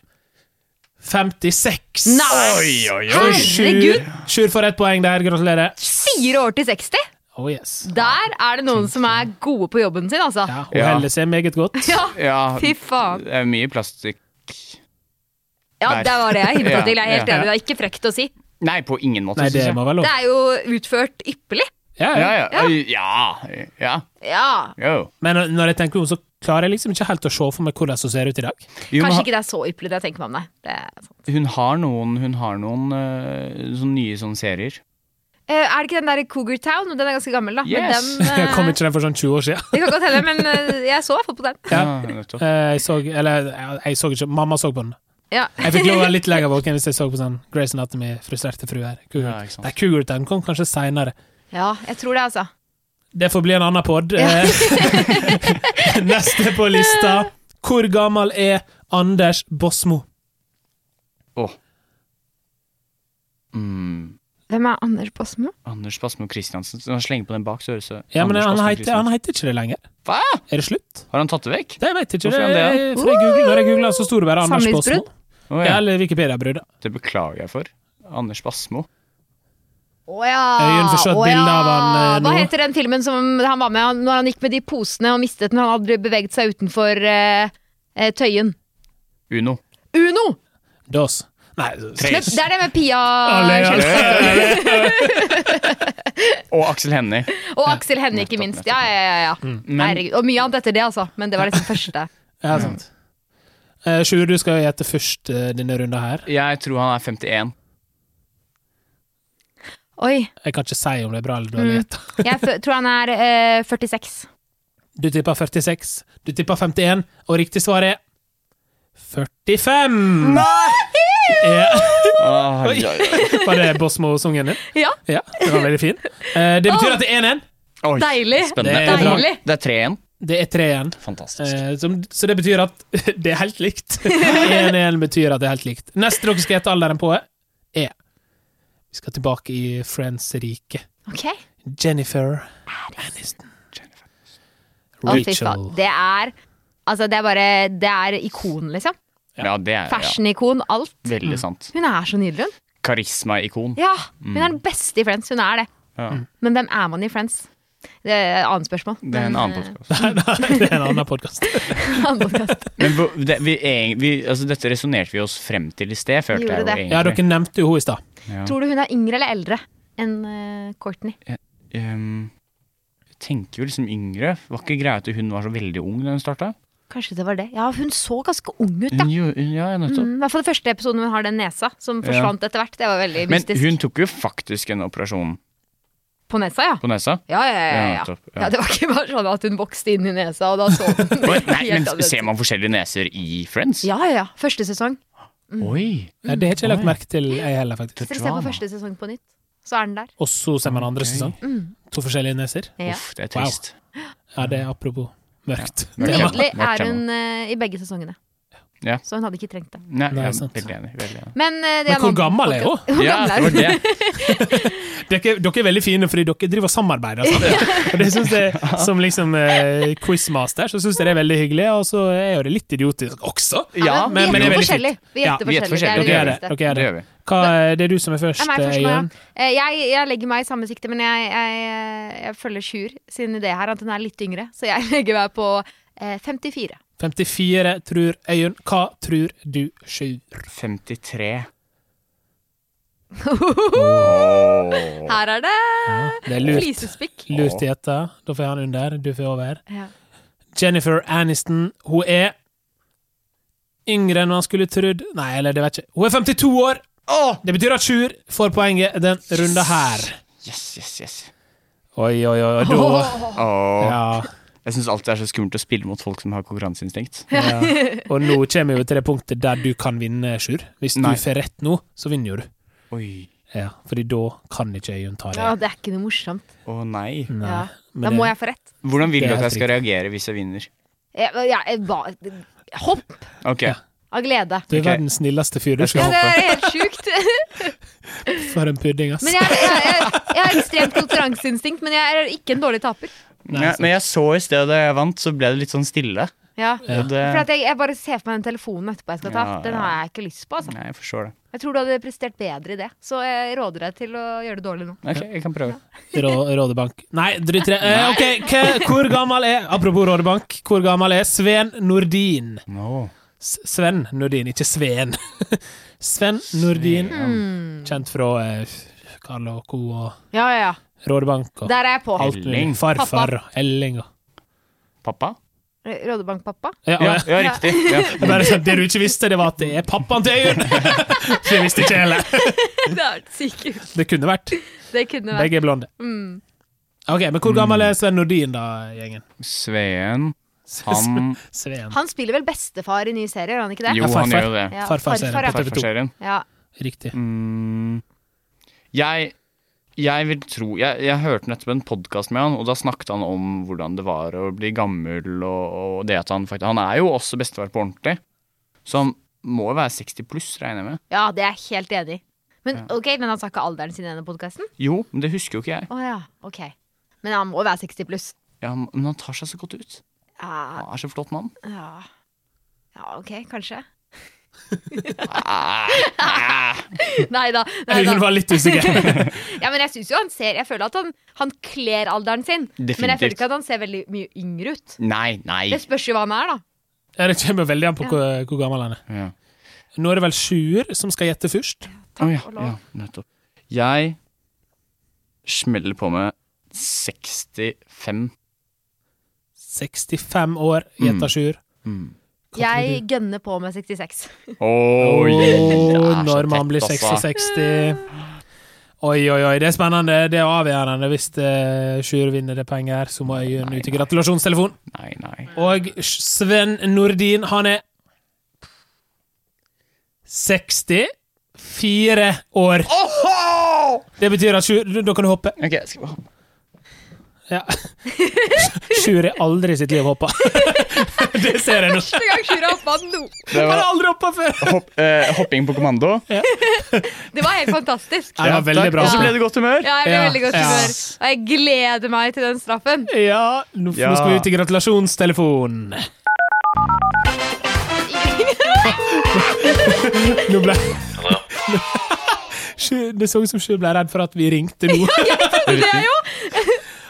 56.
Nei!
Oi, oi, oi!
Herregud!
Sjur får ett poeng der. Gratulerer.
Fire år til 60!
Oh yes.
Der er det noen som er gode på jobben sin, altså.
Ja, hun
Ja.
heller seg meget godt.
Ja,
Ja,
fy
det
faen.
er mye plastikk
Ja,
Der.
det var det jeg hinta
Ja,
til. Jeg er helt
ja,
enig. Det er ikke frekt å si.
Nei, på ingen måte.
Nei,
synes
det
jeg.
må være lov.
Det er jo utført ypperlig.
Ja, ja.
Ja, ja. Ja, ja.
Ja.
Jo.
Men når- når jeg tenker meg om, så klarer jeg liksom ikke helt å se for meg hvordan hun ser ut i dag.
Jo, men
Kanskje
ha-
ikke det er så ypperlig, det jeg tenker meg om, nei. Det er, altså- sant.
Hun har noen, hun har noen eh, sånne nye sånne serier.
Eh, er det ikke den der Cougar Town? Den er ganske gammel, da. Men
Yes.
den, eh,
Jeg kom ikke den for sånn 20 år siden.
Det kan godt hende, men eh, jeg så i hvert fall på den.
Ja.
nettopp.
Eh, Jeg så, eller eh, jeg så ikke, mamma så på den.
Ja.
Jeg fikk lov å være litt lenger våken hvis jeg så på sånn Grace Anatomy, frustrerte fruer. Cougar.
Ja, ikke sant.
Nei, Cougar Town kom kanskje seinere.
ja, jeg tror det, altså.
Det får bli en annen pod. Eh, Neste på lista. Hvor gammel er Anders Bosmo?
Åh. Mm.
Hvem er Anders Basmo?
Anders Basmo Christiansen. Når han slenger på den bak, så høres det
Ja, men
Anders
han heter,
Basmo
han
Christiansen.
heter ikke det lenger.
Hva?
Er det slutt?
Har han tatt det vekk?
Det vet jeg ikke.
Hvorfor er
Det,
han
for jeg googlet, når jeg googla, så sto det bare Anders Bosmo.
Samlivsbrudd?
Å,
Ja,
ja.
eller Wikipedia-brudd.
Det beklager jeg for. Anders Basmo.
Å ja!
Øyunn får se et
å
bilde av han, eh,
Hva
nå.
heter den filmen som han var med han- når han gikk med de posene og mistet den? Han hadde beveget seg utenfor eh, eh, Tøyen.
Uno.
Uno!
Dos. Nei,
Men det er det med Pia
Alle-
Og Aksel Hennie.
Og Aksel Hennie, ikke
Nettopp,
minst. Ja, ja, ja, ja.
Mm.
Herregud. Og mye annet etter det, altså. Men det var liksom første.
Ja, sant. Eh, Sjur, du skal jo gjette først eh, denne runden her.
Jeg tror han er 51.
Oi.
Jeg kan ikke si om det er bra eller dårlig gjetta.
Jeg f- tror han er eh, 46.
Du tippa 46, du tippa 51, og riktig svar er 45! Nei!
Åh,
Oi.
ja, ja.
Var det Bosmo-sungen din?
Ja,
Ja, det var veldig fin. Eh, det betyr at det er 1-1.
Oi,
Deilig.
Spennende.
Det er
bra.
deilig.
Det er 3 igjen.
Det er 3 igjen.
Fantastisk.
Eh, som, så det betyr at det er helt likt. 1-1 betyr at det er helt likt. Neste dere skal gjette alderen på, er Vi skal tilbake i Friends-riket.
ok.
Jennifer Aniston.
Å, fy faen.
Rachel.
Det er Altså, det er bare Det er ikon, liksom.
Ja, det er ja.
Fashion-ikon, alt.
veldig
Mm.
sant.
Hun er så nydelig, hun.
Karismaikon.
Ja, hun er den
Mm.
beste i Friends. Hun er det.
Ja.
Mm.
Men hvem er man i Friends? Det er et annet spørsmål.
Det er en
Men,
annen podkast.
det er en annen podkast.
eh, annen podcast.
Men hvor- det, vi, egen- vi, altså, dette resonnerte vi oss frem til i sted, følte
Gjorde
jeg jo
det.
egentlig.
Ja, dere nevnte jo henne i stad.
Ja.
Tror du hun er yngre eller eldre enn eh, Courtney?
Ehm, jeg tenker jo liksom yngre. Var ikke greia at hun var så veldig ung da hun starta?
Kanskje det var det. Ja, hun så ganske ung ut, da.
Hun, gjorde- hun- ja, nettopp.
Mm, I hvert fall den første episoden hun har den nesa som
Ja.
forsvant etter hvert. Det var veldig
Men
mystisk.
hun tok jo faktisk en operasjon
På nesa, ja.
på nesa.
Ja, ja, ja,
Ja,
ja, ja.
nettopp, ja.
ja. Det var ikke bare sånn at hun vokste inn i nesa, og da så hun
Oi, Nei,
helt
men
annerledes.
Ser man forskjellige neser i Friends?
Ja, ja, ja. Første sesong.
Oi!
Ja, det har ikke jeg lagt merke til, jeg heller, faktisk.
Hvis dere ser på
Drama.
første sesong på nytt, så er den der.
Og så ser man andre sesong. To forskjellige neser.
Ja.
Uff, det er trist.
Ja, det er apropos mørkt.
Men
Mørkt
egentlig
tema. Mørkt
er hun eh, i begge sesongene.
Ja.
Så hun hadde ikke trengt det.
Nei,
Nei,
jeg er
sant.
veldig enig. Veldig enig.
Men, eh,
Men
det er en
hvor
annen
gammel er
podcast.
hun?
Hvor
Ja,
gammel
det
er
var
hun?
det.
Dere, dere er veldig fine fordi dere driver og samarbeider sammen. Og det synes jeg, som liksom eh, quizmaster, så syns jeg det er veldig hyggelig, og så er jo det litt idiotisk også.
Ja,
Ja,
men
men
vi
det er veldig
gjetter forskjellig. Vi
Ja,
gjetter
vi gjetter
forskjellig.
Dere er
Det
forskjellig,
er
det.
det
Dere er
viktigste.
Det
det.
gjør vi.
Hva, det er du som er først,
Det er meg først nå, ja.
Jørn.
Eh, Jeg, jeg legger meg i samme sikte, men jeg, jeg, jeg følger Sjur sin idé her, at hun er litt yngre. Så jeg legger meg på eh, 54.
54 tror Øyunn. Hva tror du, Sjur?
53.
Her er det
Det er lurt.
flisespikk.
Lurt gjetta. Da får jeg han under, du får over.
Ja.
Jennifer Aniston, hun er yngre enn man skulle trodd. Nei, eller det vet jeg ikke. Hun er 52 år! Det betyr at Sjur får poenget den runda her.
Yes, yes, yes.
Oi, oi, oi. og Da,
Åh.
ja.
Jeg syns alltid det er så skummelt å spille mot folk som har konkurranseinstinkt.
Ja. Og nå kommer vi til det punktet der du kan vinne, Sjur. Hvis
Nei.
du får rett nå, så vinner jo du.
Oi.
Ja, fordi da kan ikke Øyunn ta det.
Ja, det er ikke noe morsomt.
Å nei.
Nei,
Ja.
men
Da
det-
må jeg få rett. Eh,
Hvordan vil
Det
du
er
at jeg skal
helt
reagere hvis jeg vinner?
Jeg, jeg, jeg, ba- hopp
Ok,
Ja.
av glede.
Du er
Ok.
verdens snilleste fyr. Du
Jeg
skal
Ja,
skal-
det er helt sjukt.
for en pudding, ass.
Men jeg, jeg, jeg, jeg har ekstremt konkurranseinstinkt, men jeg er ikke en dårlig taper.
Nei,
Ja,
sant.
men jeg så i sted da jeg vant, så ble det litt sånn stille.
Ja.
Ja.
Og det,
For at jeg, jeg bare ser for meg den telefonen etterpå jeg skal ta.
Ja,
Den
ja.
har jeg ikke lyst på. Altså.
nei, jeg forstår det.
Jeg tror du hadde prestert bedre i det, så jeg råder deg til å gjøre det dårlig nå.
Ok, jeg kan prøve.
Rå, Rådebank. Nei, drytt det. Eh, ok, hva- hvor gammel er Apropos Rådebank, hvor gammel er Sven Nordin?
No.
S Sven Nordin, ikke Sveen. Sven Nordin, kjent fra eh, Karl og Co. og
Ja, ja, ja.
Rådebank og
Der er jeg på.
alt mulig.
Elling.
Farfar og Elling og
Pappa?
Rådebankpappa.
ja,
Ja,
ja.
ja riktig. Ja.
Det, er bare sånn, det du ikke visste, det var at det er pappaen til Øyunn! For jeg visste ikke heller.
Det er sikkert.
Det kunne vært.
Det kunne vært.
Begge er blonde. Ok, Men hvor gammel er Sven Nordin, da, gjengen?
Sveen, han
Sveen.
Han spiller vel bestefar i nye serier, gjør han ikke det?
Jo,
Ja,
han
farfar.
gjør jo det.
Ja,
Farfar-serien
farfar,
på TV2.
Farfarserien.
ja.
Riktig.
Mm. Jeg jeg vil tro Jeg, jeg hørte nettopp en podkast med han, og da snakket han om hvordan det var å bli gammel og, og det at han faktisk Han er jo også bestefar på ordentlig, så han må jo være 60 pluss, regner jeg med.
ja, det er jeg helt enig i. Men ok, men han sa ikke alderen sin i denne podkasten?
Jo, men det husker jo ikke jeg.
Å ja, ok. Men han må være 60 pluss.
Ja, men han tar seg så godt ut.
Ja,
Han er så flott mann.
ja. ja ok, kanskje.
Ah,
Nei da. Nei da.
Hun var litt usikker.
Ja, men jeg synes jo han ser Jeg føler at han, han kler alderen sin. Men jeg
Definitivt.
føler ikke at han ser veldig mye yngre ut.
Nei, nei.
Det spørs jo hva han er, da.
Ja, det kommer veldig an på
Ja.
hvor, eh, hvor gammel han er.
Ja.
Nå er det vel Sjur som skal gjette først.
Takk
Å ja,
og lov.
ja, nettopp. Jeg smeller på med 65.
65 år, gjetta Sjur.
Mm.
Hva
Jeg gønner på med 66.
tror
Oi,
du?
det er
Åh,
så
når
tett,
man blir
altså.
60-60 Oi, oi, oi, det er spennende. Det er avgjørende. Hvis eh, Sjur vinner det poenget her, så må Øyunn ut i gratulasjonstelefon.
Nei, nei.
Og Sven Nordin, han er 64 år. Det betyr at Sjur Da kan du hoppe.
Ok, skal vi hoppe.
Ja. Sjur er aldri i sitt liv hoppa. Det ser jeg nå.
Første gang Sjura hoppa nå!
Det
Han har
var
aldri hoppa før!
hopp, eh, hopping på kommando.
Det var helt fantastisk.
Det var veldig bra.
Og så ble det godt humør.
Ja, jeg ble
Ja,
veldig godt
ja.
humør. Og jeg gleder meg til den straffen.
Ja, nå,
Ja.
nå skal vi ut i gratulasjonstelefonen. Nå ble Sjur- Det så ut som Sjur ble redd for at vi ringte nå.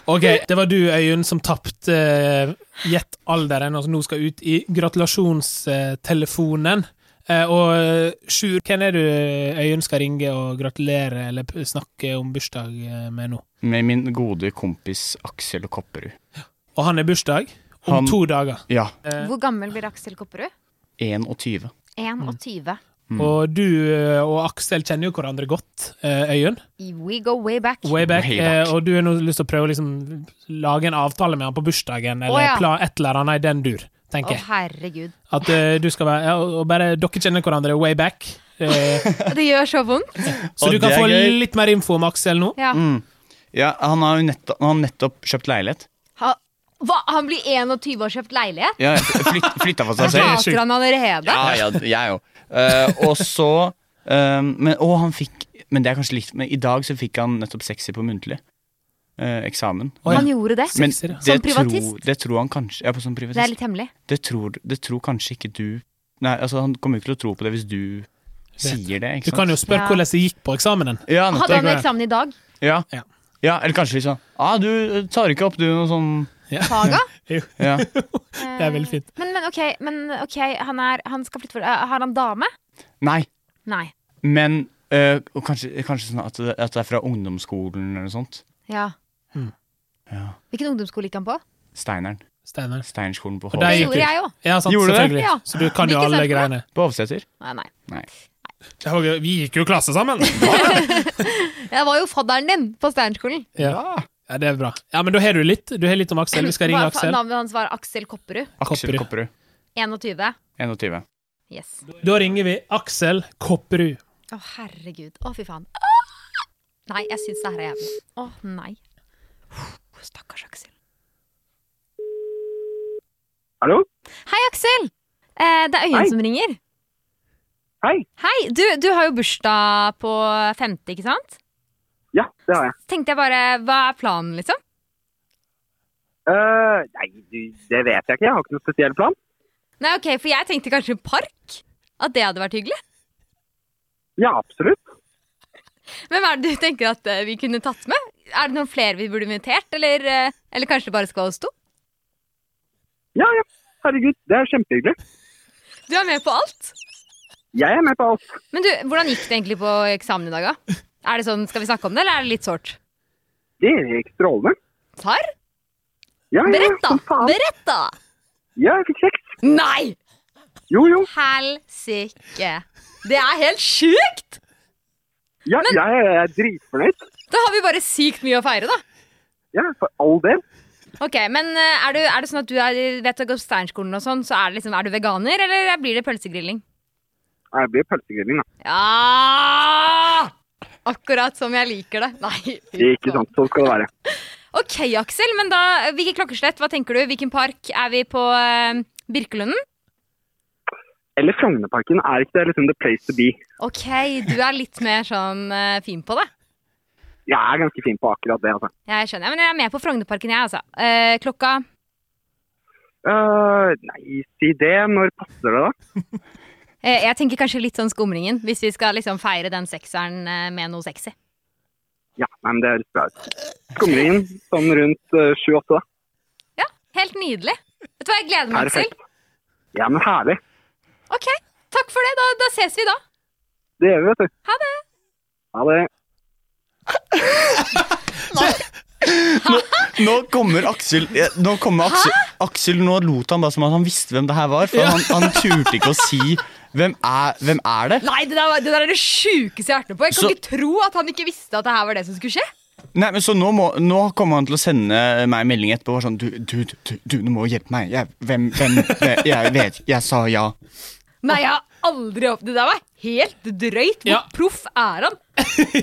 Ok, Det var du, Øyunn, som tapte eh, gjett alderen, og som nå skal ut i gratulasjonstelefonen. Eh, og eh, Sjur, hvem er du Øyunn skal ringe og gratulere eller p- snakke om bursdag eh, med nå?
Med min gode kompis Aksel Kopperud.
Og han er bursdag om
Han-
to dager.
Ja,
Eh.
Hvor gammel blir Aksel Kopperud?
21.
Mm.
21.
Og du eh, og Aksel kjenner jo hverandre godt, eh, Øyunn.
We go way back.
Way back.
Way
Eh,
back.
og du har nå lyst til å prøve å liksom, lage en avtale med han på bursdagen, eller
Å, ja.
pla- et eller annet i den dur,
Å,
tenker jeg.
herregud.
At eh, du skal være ja, og- og bare, Dere kjenner hverandre way back. Eh,
Det gjør så vondt.
så
Og
du kan
det er
få
gøy.
litt mer info om Aksel nå.
Ja.
Mm. Ja, han har jo nettopp, han har nettopp kjøpt leilighet.
Ha, hva? Han blir 21 og kjøpt leilighet?
Ja, flyt, flytta for seg selv.
sjukt.
Hater han allerede?
Ja, ja, jeg òg. og så eh, men, Og han fikk Men det er kanskje litt Men i dag så fikk han nettopp sexy på muntlig eh, eksamen.
Å, ja.
Han gjorde det.
Men
Sexy, ja.
det
Som privatist?
Tror, det tror han kanskje Ja, på sånn privatist.
Det er litt hemmelig.
det, tror, det tror kanskje ikke du Nei, altså han kommer jo ikke til å tro på det hvis du sier det.
Du
ikke
kan jo
sant?
spørre
Ja.
hvordan det gikk på eksamen.
Ja,
Hadde han
nettopp.
eksamen i dag?
Ja.
Ja.
ja, eller kanskje litt sånn ah, Du tar ikke opp, du, noe sånn
Ja.
Faga?
Jo,
Ja.
det er veldig fint.
Eh, Men, men ok, men, ok, han, er, han skal flytte for eh, Har han dame?
Nei.
Nei.
Men øh, og kanskje, kanskje sånn at det, at det er fra ungdomsskolen eller noe sånt.
Ja.
Ja.
Hvilken ungdomsskole gikk han på?
Steineren.
Steinar.
Steinerskolen på
Og
Hov-
Det
Nei,
gjorde jeg òg.
Ja, sant,
Gjorde du det?
selvfølgelig.
Ja.
Så du kan jo
Ikke
alle
sant?
greiene.
på Hovseter.
Nei, nei.
Nei.
Det var gøy. Vi gikk jo klasse sammen!
Jeg var jo fadderen din på Steinerskolen.
Ja.
Ah,
ja, det er bra. Ja, Men da har du litt. Du har litt om Aksel. Vi skal ringe
Hva- fa-
Aksel.
Navnet hans var Aksel Kopperud.
Aksel
Kopperud.
Kopperud.
21.
21.
Yes. Å,
Da ringer vi Aksel Kopperud.
herregud. Å, fy faen. Nei, jeg syns det her er jævlig. Å, nei. Stakkars Aksel.
Hallo?
Hei, Aksel! Eh, det er Øyunn
Hei.
som ringer.
Hei.
Hei, du, du har jo bursdag på femte, ikke sant?
Ja, det har jeg.
Tenkte jeg bare, hva er planen, liksom?
Eh, nei, du, det vet jeg ikke. Jeg har ikke noen spesiell plan.
Nei, ok, for jeg tenkte kanskje park. At det hadde vært hyggelig.
Ja, absolutt.
Hvem er det du tenker at eh, vi kunne tatt med? Er det noen flere vi burde invitert, eller, eh, eller kanskje det bare skal være oss to?
Ja, ja. Herregud, det er kjempehyggelig.
Du er med på alt.
Jeg er med på alt.
Men du, hvordan gikk det egentlig på eksamen i dag, da? Er det sånn, Skal vi snakke om det, eller er det litt sårt?
Det gikk strålende.
Tar?
Ja, ja, ja,
Berett, da!
som faen.
Berett, da!
Ja, jeg fikk kjeks.
Nei!
Jo, jo.
Helsike. Det er helt sjukt!
Ja, jeg er dritfornøyd.
Da har vi bare sykt mye å feire, da.
Ja, for all del.
Ok, Men eh, er, du, er det sånn at du er, vet du, Steinerskolen og sånn, så er, det liksom, er du veganer, eller blir det pølsegrilling?
Nei, Det blir pølsegrilling, da.
Ja! Akkurat som jeg liker det. Nei,
Det er ikke sant. Sånn skal det være.
Ok, Aksel, men da, hvilket klokkeslett, hva tenker du? Hvilken park er vi på eh, Birkelunden?
Eller Frognerparken. Er ikke det liksom the place to be?
Ok, du er litt mer sånn eh, fin på det.
Jeg er ganske fin på akkurat det, altså.
Jeg skjønner, men jeg er med på Frognerparken, jeg, altså. Eh, klokka
Eh, nei, si det. Når passer det, da?
eh, Jeg tenker kanskje litt sånn Skumringen, hvis vi skal liksom feire den sekseren eh, med noe sexy.
Ja, nei, men det høres bra ut. Skumringen sånn rundt eh, 7-8, da.
Ja, helt nydelig. Vet du hva, jeg gleder meg, Aksel.
Perfekt. Ja, men herlig.
Ok, takk for det. Da, da ses vi, da.
Det gjør vi, vet du.
Ha det.
Ha det.
Nå kommer Aksel eh, Nå kommer Aksel, Aksel Nå lot han bare som at han visste hvem det her var, for han, han turte ikke å si hvem er, hvem er det.
Nei, det der, var- det der er det sjukeste jeg har hørt noe på. Jeg kan
Så-
ikke tro at han ikke visste at det her var det som skulle skje.
Nei, men så nå, må, nå kommer han til å sende meg en melding etterpå. bare Sånn, du, du, du, du, du må hjelpe meg. Jeg, hvem, hvem, hvem Jeg vet Jeg sa ja.
Nei, jeg har aldri opp... Det der var helt drøyt. Hvor
Ja.
proff er han?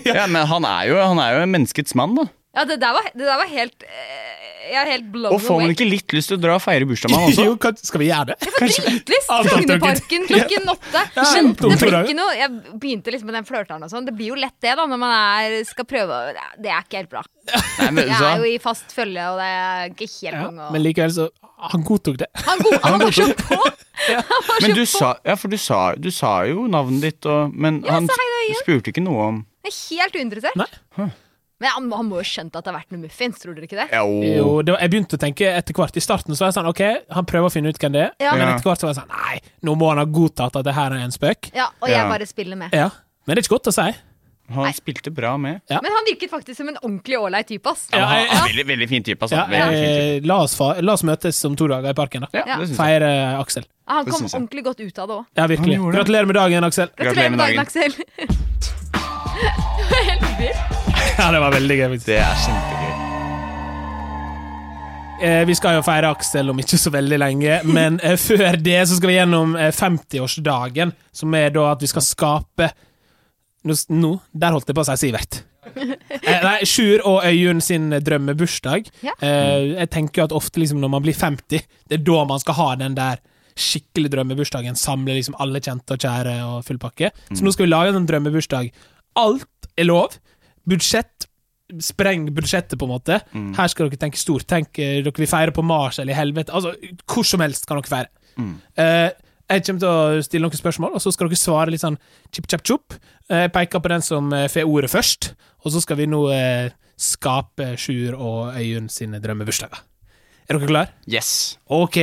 Ja, Men han er jo, han er jo menneskets mann, da.
Ja, det der var, det der var helt eh, Jeg er helt blown
Og får man
away.
ikke litt lyst til å dra og feire bursdagen med han også?
Jo, kan- skal vi gjøre det?
Dritlyst!
Alt annet er
Frognerparken
greit.
klokken åtte.
Ja,
Men
dumt,
det blir
Tora.
ikke noe Jeg begynte liksom med den flørteren og sånn. Det blir jo lett det, da, når man er, skal prøve å Det er ikke helt bra.
Nei, men,
Jeg
så,
er jo i fast følge, og det er ikke helt
Ja,
konge.
men
og-
likevel, så Han godtok det.
Han, go han var så på! Han var
men
så
du
på!
sa Ja, for du sa, du sa jo navnet ditt, og Men han
sa hei,
spurte ikke noe om
Jeg er helt uinteressert.
Nei.
Men han, han må jo skjønt at det har vært noe muffins, tror dere ikke det?
Jo.
Jo, det var, jeg begynte å tenke etter hvert. I starten så var jeg sånn OK, han prøver å finne ut hvem det er.
Ja.
Men
Ja.
etter hvert så var jeg sånn Nei, nå må han ha godtatt at det her er en spøk.
Ja, Og jeg
Ja.
bare spiller med.
Ja. Men det er ikke godt å si.
Han spilte bra med.
Ja.
Men han virket faktisk som en ordentlig ålreit type, ass.
Ja,
Han
jeg-
er veldig, veldig fin type, altså.
Ja,
veldig fin type.
eh, la, oss fa la oss møtes om to dager i parken, da.
Ja, det synes jeg.
Feire eh, Aksel.
Han
Det
kom
synes jeg.
ordentlig godt ut av det òg.
Ja, virkelig.
Han gjorde det.
Gratulerer med dagen, Aksel.
Gratulerer med dagen,
dagen.
Aksel.
Ja, det var veldig gøy. faktisk.
Det er kjempegøy.
Eh, vi skal jo feire Aksel om ikke så veldig lenge, men eh, før det så skal vi gjennom eh, 50-årsdagen, som er da at vi skal skape Nå, s- nå der holdt jeg på å si Sivert. Eh, nei, Sjur og Øyunn sin eh, drømmebursdag.
Ja.
Eh, jeg tenker jo at ofte liksom når man blir 50, det er da man skal ha den der skikkelig drømmebursdagen. Samle liksom alle kjente og kjære og full pakke.
Mm.
Så nå skal vi lage en sånn drømmebursdag. Alt er lov. Budsjett Spreng budsjettet, på en måte. Her skal dere tenke stort. Tenk, eh, dere vil feire på Mars eller i helvete. Altså, hvor som helst kan dere feire. Eh, Jeg kommer til å stille noen spørsmål, og så skal dere svare litt sånn chip chap chop. Jeg peker på den som eh, får ordet først, og så skal vi nå eh, skape Sjur og Øyunn sine drømmebursdager. Er dere klare?
Yes.
Ok,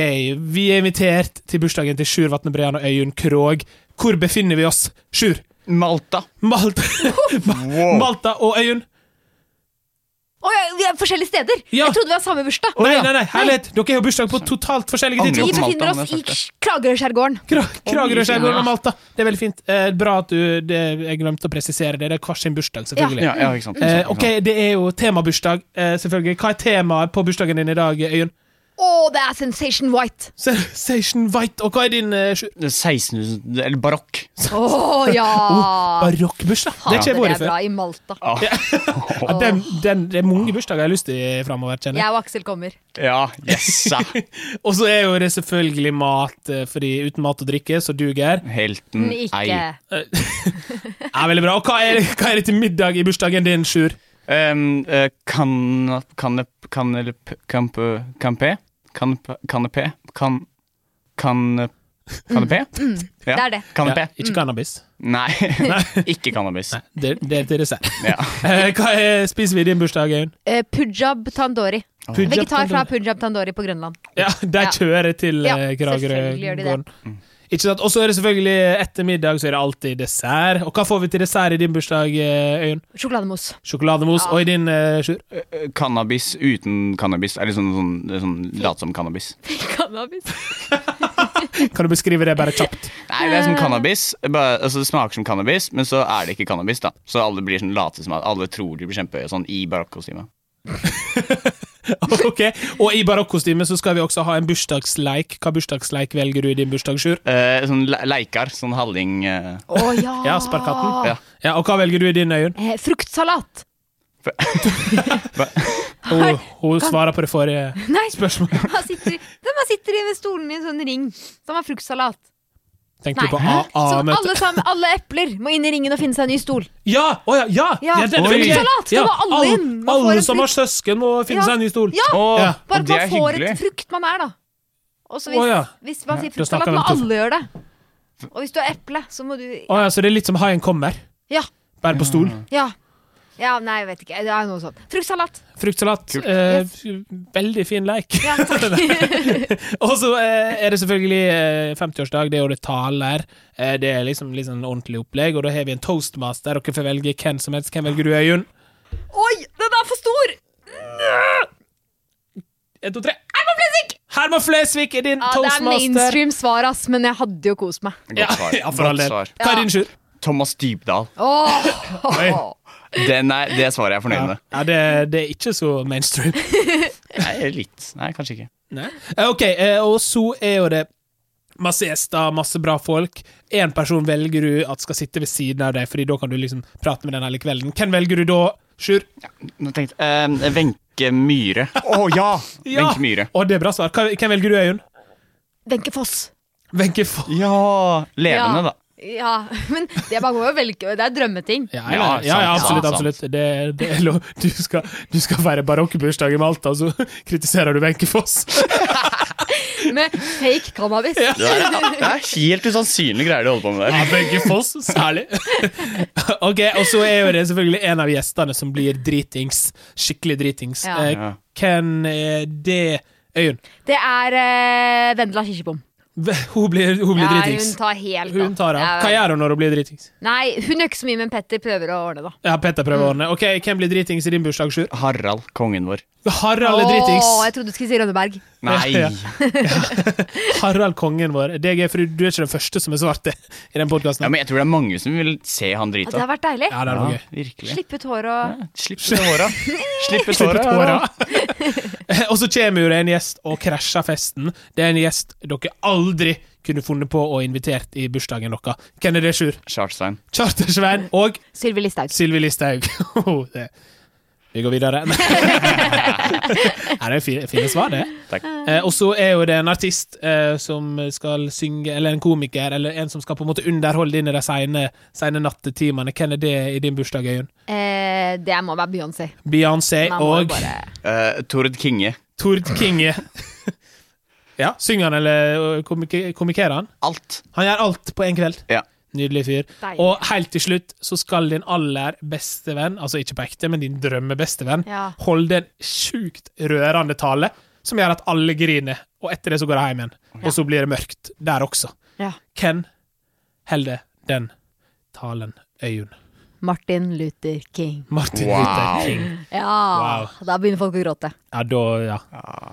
vi er invitert til bursdagen til Sjur Vatne Brean og Øyunn Krog. Hvor befinner vi oss? Sjur!
Malta.
Malta,
Wow.
Malta og Øyunn.
Å, ja, vi er forskjellige steder!
Ja.
Jeg trodde vi hadde samme bursdag.
Nei,
ja.
nei, nei, herlighet! Dere har jo bursdag på
Sånn.
totalt forskjellige
Angrer
tidspunkt.
Vi
Malta,
befinner
men
oss
det
i
er sant,
Kragerø-skjærgården.
Kra Kragerø-skjærgården
Ja.
og Malta. Det er veldig fint. Eh, bra at du det, Jeg glemte å presisere det. Det er hver sin bursdag, selvfølgelig.
Ja, ja, ikke sant.
Eh, ok, det er jo temabursdag, eh, selvfølgelig. Hva er temaet på bursdagen din i dag, Øyunn?
Å, det er Sensation White!
Sensation White. Og hva er din eh, sju-
16 000 Eller barokk.
Å ja!
barokkbursdag? Oh, Det har ikke jeg vært
Fader, Ah. det er
før.
bra i Malta.
Ja, den, den, det er mange bursdager jeg har lyst til framover, kjenner jeg.
Jeg og Aksel kommer.
Ja, yes. sa.
Og så er jo det selvfølgelig mat, eh, fordi uten mat og drikke, så duger.
Helten
Ikke
ei.
Ja, veldig bra. Og hva er, hva er det til middag i bursdagen din, Sjur?
Um, eh, kan Kanep... Kanep... Kanpe... Kanpe? Kanep- Kanepé? Kan... e Kanep... Kanepé? Ja.
Mm.
e
Det er det.
Kanepé.
Ja, ikke cannabis.
Nei, ikke cannabis.
Det, det er til dessert.
Ja.
Eh, Hva er, spiser vi i din bursdag, Øyunn?
Eh, Punjab Tandori.
Punjab
Vegetar fra
tandoori.
Punjab Tandori på Grønland.
Ja, der
Ja.
kjører til
Ja,
eh,
selvfølgelig gjør de det.
Kragerø-gården. Ikke sant? Og så er det selvfølgelig eh, etter middag så er det alltid dessert. Og hva får vi til dessert i din bursdag, eh, Øyunn?
Sjokolademos.
Sjokolademos.
Ja.
Og i din, eh, Sjur?
Eh, Cannabis uten cannabis. Eller sånn, sånn, det er sånn lat som cannabis.
Cannabis.
Kan du beskrive det bare kjapt?
Nei, det er som cannabis. Bare, altså, det smaker som cannabis, men så er det ikke cannabis. da Så alle blir sånn late som at alle tror de blir kjempehøye sånn i barokkostyme.
ok, Og i barokkostyme så skal vi også ha en bursdagsleik. Hva bursdagsleik velger du i din bursdag, Sjur?
Eh, sånn le leikar. Sånn halling eh,
Å ja!
Ja, sparkatten.
Ja.
Ja, Og hva velger du i din, Øyunn?
Eh, fruktsalat.
Hun, hun svarer på det forrige
Nei,
spørsmålet.
han sitter, de her sitter i ved stolen i en sånn ring. Som har fruktsalat.
Tenkte
Nei.
du på AA-møtet?
alle, sammen, alle epler må inn i ringen og finne seg en ny stol.
Ja! Å ja! ja.
Ja,
det er det
Oi.
veldig gøy.
Salat, da må alle
alle,
inn. Man får
alle
en
som har søsken, må finne
Ja.
seg en ny stol.
Ja,
Å,
Ja.
bare
og
at
det er
man får
hyggelig.
et frukt man er, da. Og så hvis,
Å, ja.
hvis man sier
da snakker
fruktsalat,
vi
må
om to-
alle gjøre det. Og hvis du har eple, så må du
Å ja, så det er litt som haien kommer,
Ja.
bare på stol.
Mm.
Ja, ja nei, jeg vet ikke. Det er noe sånt. Fruktsalat.
Fruktsalat.
Kult.
Eh, Veldig fin leik.
Ja, takk.
Og så eh, er det selvfølgelig eh, 50-årsdag, det er jo det taler. Eh, det er liksom litt sånn ordentlig opplegg, og da har vi en toastmaster. Dere får velge hvem som helst. Hvem velger du, Øyunn?
Oi, den er for stor!
En, to, tre. Herman Flesvig! Herman Flesvig er din
Ja, det er
toastmaster.
mainstream svar, ass, men jeg hadde jo kost meg.
Godt
Ja,
svar.
ja, for all
Godt
del.
svar.
Hva er din, Sjur?
Thomas Dybdahl.
Åh,
Den er, det svaret er jeg fornøyd
Ja,
med.
det, det er ikke så mainstream.
Nei, litt. Nei, kanskje ikke.
Nei. Eh, Ok, eh, og så er jo det masse gjester, masse bra folk. Én person velger du at skal sitte ved siden av deg, Fordi da kan du liksom prate med den hele kvelden. Hvem velger du da, Sjur?
Nå tenkte jeg eh, Wenche Myhre. Å ja!
Ja!
Wenche Myhre.
Å, det er bra svar. Hva- Hvem velger du, Øyunn?
Wenche Foss.
Wenche Foss.
Ja! Levende,
Ja.
da.
Ja, men det, man må jo velge. det er drømmeting.
Ja,
Ja,
ja, ja, ja,
sant,
absolutt.
sant,
absolutt. Det, det er lov. Du skal, du skal feire barokkbursdag i Malta, og så kritiserer du Wenche Foss.
Med fake cannabis.
Det er helt usannsynlige greier de holder på med der.
Ja, Wenche Foss, særlig. ok, Og så er jo det selvfølgelig en av gjestene som blir dritings. Skikkelig dritings.
Ja.
Eh,
Ja.
Hvem er det? Øyunn.
Det er eh, Vendela Kirsebom.
V- Hun blir, hun blir
Ja, hun
dritings.
tar helt
Hun tar av. Hva
Ja,
gjør hun når hun blir dritings?
Nei, hun gjør ikke så mye, men Petter prøver å ordne, da.
Ja, Petter
Mm.
prøver å ordne. Ok, Hvem blir dritings i din bursdag, Sjur?
Harald, kongen vår.
Harald er
Åh,
dritings.
jeg trodde du skulle si Rønneberg.
Nei!
Ja. Harald kongen vår. DG, for du er ikke den første som er svart det i den
Ja,
podkasten.
men jeg tror det er mange som vil se han
Ja, det
drita.
har vært deilig.
Ja, det er noe gøy.
virkelig.
Slippe ut håret og
Slipp ut håra. Slipp ut
Slipp ut
håra.
håra. og så kommer jo det en gjest og krasjer festen. Det er en gjest dere aldri kunne funnet på å invitert i bursdagen deres. Hvem er det, Sjur?
Chartstein.
Chartersvein og
Sylvi Listhaug.
Sylvi Listhaug. Oh, det- Vi går videre. Nei, det er fine, fine svar, det.
Takk.
Eh, og så er jo det en artist eh, som skal synge, eller en komiker, eller en som skal på en måte underholde inn i de seine, seine nattetimene. Hvem er det i din bursdag, Øyunn?
Eh, det må være Beyoncé.
Beyoncé
Man må
Eh,
jo
og
bare
Eh, Tord Kinge.
Tord Kinge. Ja, Synger han eller øh, komike- komikerer han?
Alt.
Han gjør alt på én kveld.
Ja.
Nydelig fyr.
Deilig.
Og helt til slutt så skal din aller beste venn, altså ikke på ekte, men din drømmebestevenn,
Ja.
holde en sjukt rørende tale som gjør at alle griner, og etter det så går de hjem igjen. Og så blir det mørkt der også.
Ja.
Hvem holder den talen? Øyunn.
Martin Luther King.
Martin
Wow.
Luther King.
Ja, da begynner folk å gråte.
Ja, da, ja.
Ah.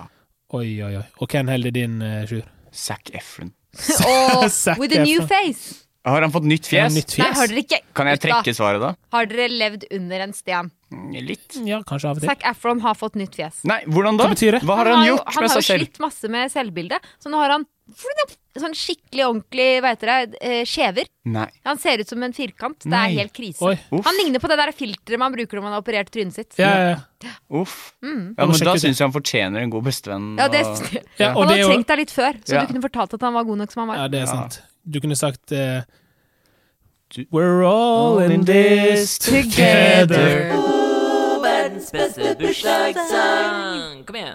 Oi, oi, oi. Og hvem holder din, eh, Sjur?
Zac Efron.
Og
Zac
with a new
Efron.
face!
Har han fått nytt
Ja,
fjes?
nytt
Nei,
fjes?
har dere ikke
Kan jeg
Gutta,
trekke svaret, da?
Har dere levd under en sten?
Mm, Litt.
Ja, kanskje av og til.
Zac Efron har fått nytt fjes.
Nei, hvordan da?
Hva betyr det?
Hva har han
jo-
gjort
han
med
har jo
seg selv?
slitt masse med selvbildet, så nå har han sånn skikkelig ordentlig hva heter det, eh, skjever.
Nei.
Han ser ut som en firkant. Det
Nei.
er helt krise.
Oi.
Uff.
Han ligner på det der filteret man bruker når man har operert trynet sitt.
Ja, ja, ja.
Uff.
Jeg
Ja,
må
men da
sjekke ut det.
syns jeg han fortjener en god bestevenn.
Mm. Ja, det,
og-
Ja, og det er
han hadde
jo-
trengt deg litt før, så
Ja.
du kunne fortalt at han var god nok som han var.
Ja, det er
Ja.
sant. Du kunne sagt eh,
Du-
We're all in this together.
Verdens beste bursdagssang. Kom igjen.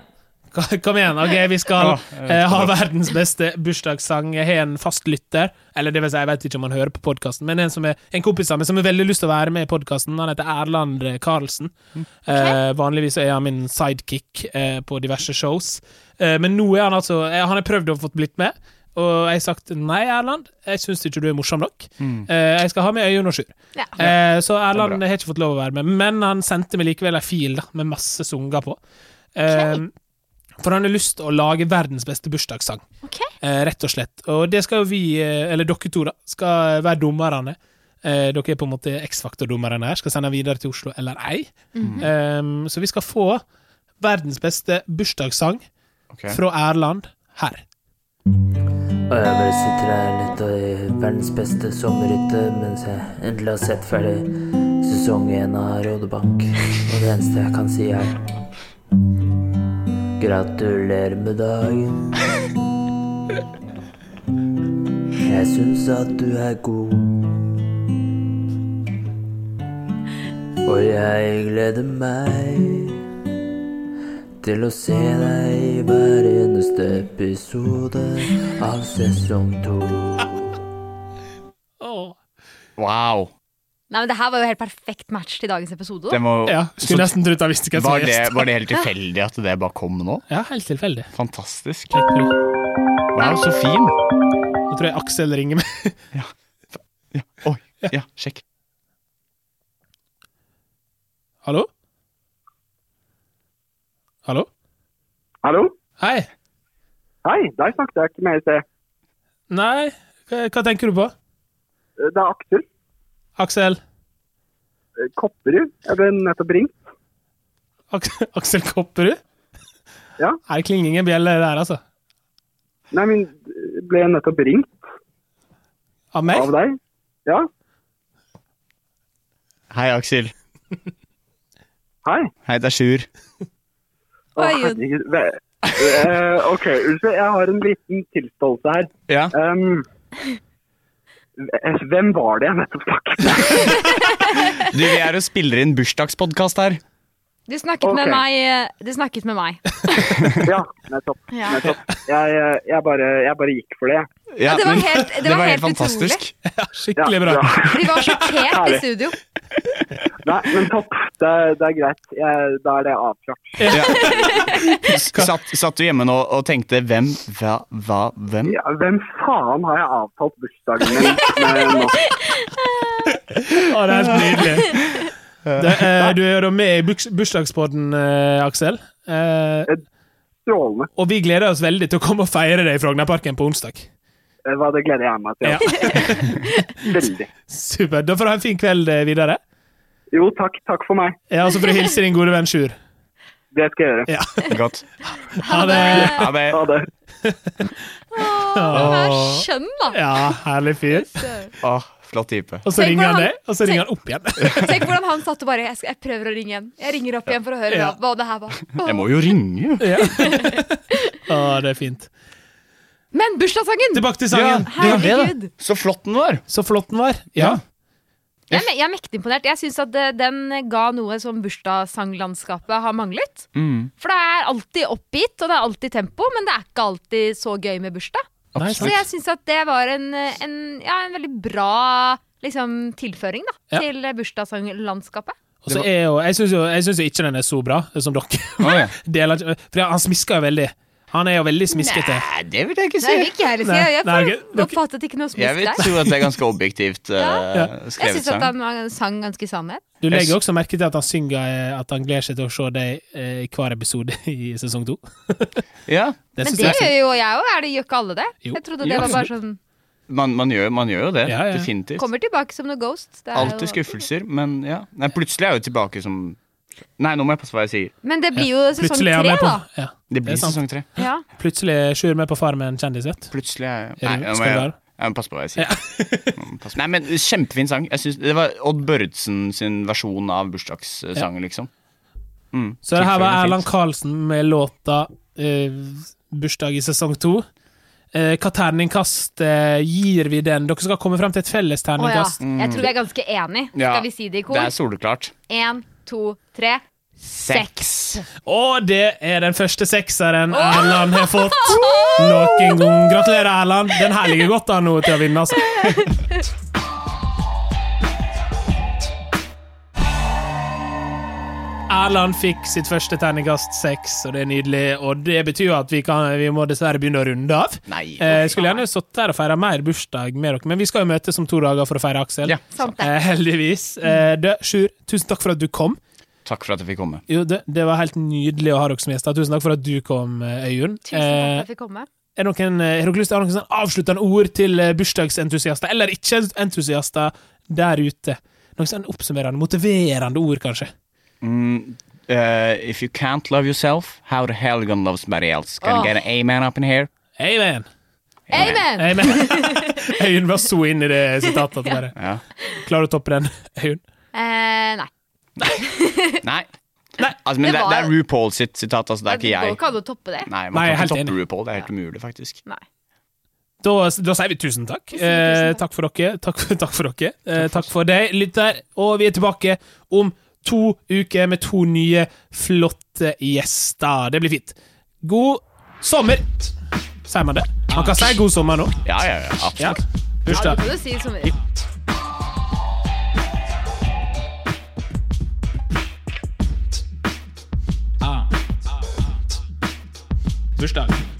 Ka- Kom igjen, ok, vi skal
Åh, jeg vet
eh, ha
ikke.
verdens beste bursdagssang. Jeg har en fast lytter, eller det vil si, jeg vet ikke om han hører på podkasten, men en, som er, en kompis av meg som har veldig lyst til å være med i podkasten. Han heter Erland Karlsen.
Mm.
Eh, vanligvis er han min sidekick eh, på diverse shows, eh, men nå er han altså eh, Han har prøvd å få blitt med, og jeg har sagt nei, Erland, jeg syns ikke du er morsom nok.
Mm.
Eh, jeg skal ha med Øyunn og Sjur.
Ja.
Eh, så Erland
Det
har ikke fått lov å være med, men han sendte meg likevel ei fil da, med masse sanger på. Eh, For han har lyst til å lage verdens beste bursdagssang,
Ok.
eh, rett og slett. Og det skal jo vi, eh, eller dere to, da, skal være dommerne. Eh, dere er på en måte X-faktor-dommerne her. Skal sende han videre til Oslo eller ei.
Mhm.
Eh, så vi skal få verdens beste bursdagssang
Ok.
fra Erland her.
Og jeg bare sitter her litt og i verdens beste sommerhytte mens jeg endelig har sett ferdig sesong én av Rådebank. Og det eneste jeg kan si, er Gratulerer med dagen. Jeg syns at du er god. Og jeg gleder meg til å se deg i hver eneste episode av sesong to.
Åh.
Wow.
Nei, men Det her var jo helt perfekt match til dagens episode.
Det
Da.
må,
Ja, skulle nesten trodd han visste hvem som
var,
var
det,
gjest.
var det helt tilfeldig at det bare kom nå?
Ja, helt tilfeldig.
Fantastisk.
Klipp nå.
Wow, så fin.
Nå tror jeg Aksel ringer meg.
Ja. Oi. Ja, sjekk.
Hallo? Hallo?
Hallo?
Hei.
Hei, deg snakket jeg ikke med i sted.
Nei, hva, hva tenker du på?
Det er Aksel
Aksel?
eh, Kopperud. Jeg ble nettopp ringt.
Ak Aksel Kopperud?
Ja.
Her klinger ingen bjelle der, altså.
Nei, men eh, ble jeg nettopp ringt
Av meg?
av deg? Ja,
Hei, Aksel.
hei.
Hei, det er Sjur.
Å,
Oi, jo.
herregud. Ve- Eh, ok, unnskyld. Jeg har en liten tilståelse her.
Ja.
Um, hve- hvem var det jeg nettopp snakket med?
Du, vi er og spiller inn bursdagspodkast her.
Du, snakket med
Ok.
meg, eh, du snakket med meg.
Ja, nettopp.
Ja.
nettopp. Jeg, eh, jeg, bare, jeg bare gikk for det.
Ja,
det var
men-
helt- det var helt
fantastisk.
Ja,
Skikkelig bra.
Vi var sjokkert i
Herlig.
studio.
Nei, men topp. Det, det er greit. Jeg, da er det avklart.
Satt, satt du hjemme nå og tenkte hvem, hva, hva, hvem?
Ja, hvem faen har jeg avtalt bursdagen min med nå?
Å, det er helt nydelig. Det, eh, du er da med i buks- bursdagspodden, eh, Aksel. Eh,
Strålende.
og vi gleder oss veldig til å komme og feire deg i Frognerparken på onsdag.
Eh, Hva det gleder jeg meg
Ja.
til. Veldig.
Supert. Da får du ha en fin kveld eh, videre.
Jo, takk. Takk for meg.
Ja, Og så får du hilse din gode venn Sjur.
Det skal jeg gjøre.
Ja.
Godt.
Ha det.
Ja, det,
Ha det.
Åh, Skjønn, da!
Ja, herlig fyr.
å, flott type.
Og så
Tenk
ringer han
hvordan
deg, og så ringer han opp igjen.
Tenk hvordan han satt og bare jeg, skal, jeg prøver å ringe igjen. Jeg ringer opp igjen for å høre
Ja.
hva- hva det her var.
Jeg må jo ringe.
Ja. Å, det er fint.
Men bursdagssangen!
Tilbake til sangen.
Ja.
Herregud.
Så flott den var.
Så flott den var. Ja.
Jeg, er me- jeg er mektig imponert. Jeg syns at eh, den ga noe som bursdagssanglandskapet har manglet.
Mm,
For det er alltid oppgitt, og det er alltid tempo, men det er ikke alltid så gøy med bursdag.
Nei,
Så jeg syns at det var en, eh, en, ja, en veldig bra liksom, tilføring da,
Ja.
til eh, bursdagssanglandskapet.
Og så er jo, jeg syns jo, jeg synes jo ikke den er så bra som dere.
Å, ja.
Deler ikke- For han smisker jo veldig. Han er jo veldig smiskete.
Nei, det vil jeg
Nei,
ikke si.
det vil ikke jeg heller si.
Nei,
Jeg
nei,
får-
ok, dere-
oppfattet ikke noe
Jeg
smisk
vil
der.
tro at det er ganske objektivt eh,
Jeg syns
skrevet
at
sang.
han var- sang ganske sannhet.
Du
Jeg
legger
s-
også merke til at han synger eh, at han gleder seg til å se deg eh, i hver episode i sesong to.
Ja,
Men
synes jeg er-
det gjør jo jeg òg, er det gjør ikke alle det?
Jo.
Jeg trodde det
Jo,
var bare sånn
man, man, gjør, man gjør jo det.
Ja, ja.
Definitivt.
Kommer tilbake som noe ghost. Det er jo-
Alltid skuffelser, men ja. Nei, plutselig er jeg jo tilbake som Nei, nå må jeg passe hva jeg sier.
Men det blir jo sesong
Plutselig er
tre,
han med på.
da.
Ja.
Det
Det er
blir
sant.
sesong tre.
Ja.
Plutselig er Sjur med på Farmen kjendis, vet du.
Plutselig er jeg
Er
Nei,
du-
nå må
skal du
jeg,
være?
jeg må passe på hva jeg sier. Jeg må passe på. Nei, men Kjempefin sang. Jeg synes, det var Odd Børretzen sin versjon av bursdagssangen, liksom. Mm,
Så det her var
tilførende
Erland
fint.
Karlsen med låta eh, 'Bursdag i sesong to'. Eh, hva terningkast eh, gir vi den? Dere skal komme frem til et felles
Å ja.
terningkast.
Jeg tror vi er ganske enig.
Ja,
Skal vi si det i kor?
Det er soleklart.
Én, to, tre. Seks.
Og det er den første sekseren Erland har fått noen gang. Gratulerer, Erland. Den her ligger godt an nå til å vinne, altså. Erland fikk sitt første terningkast seks, og det er nydelig. Og det betyr jo at vi, kan, vi må dessverre begynne å runde av.
Nei.
Eh, jeg skulle gjerne sittet her og feira mer bursdag med dere, men vi skal jo møtes om to dager for å feire Aksel.
Ja.
Sant det.
Eh, heldigvis. Eh, du, Sjur, tusen takk for at du kom.
Takk for at jeg fikk komme.
Jo, det, det var helt nydelig å ha dere som gjester. Tusen takk for at du kom, eh, Øyunn.
Tusen takk for at
Eh,
jeg fikk komme.
er noen, eh, har dere lyst til å ha noen sånn avsluttende ord til eh, bursdagsentusiaster, eller ikke-entusiaster der ute? Noen sånn oppsummerende, motiverende ord, kanskje?
Mm, eh, if you can't love yourself, how the hell you gonna love somebody else? Can
Åh.
you get an amen up in here?
Amen! eh,
Amen!
Amen. Øyunn var så inn i det sitatet at bare
Ja.
Klarer du å toppe den, Øyunn?
Eh, nei.
Nei.
Nei,
Altså, men
det
det,
var-
det er RuPaul sitt sitat, altså. Det er
Det
ikke
går
jeg.
ikke an å toppe det.
Nei, man
Nei, jeg er
kan
helt
ikke toppe
enig.
RuPaul. Det er helt umulig, faktisk.
Nei.
Da, da sier vi tusen takk. Eh, takk for dere. Takk for, takk for dere. Eh, takk for deg, lytter. Og vi er tilbake om to uker med to nye flotte gjester. Det blir fint. God sommer! Sier man det? Man kan si god sommer nå.
Ja, ja, ja.
Ja.
Absolutt.
Ja,
Bursdag.
du må jo si det som
Bursdag.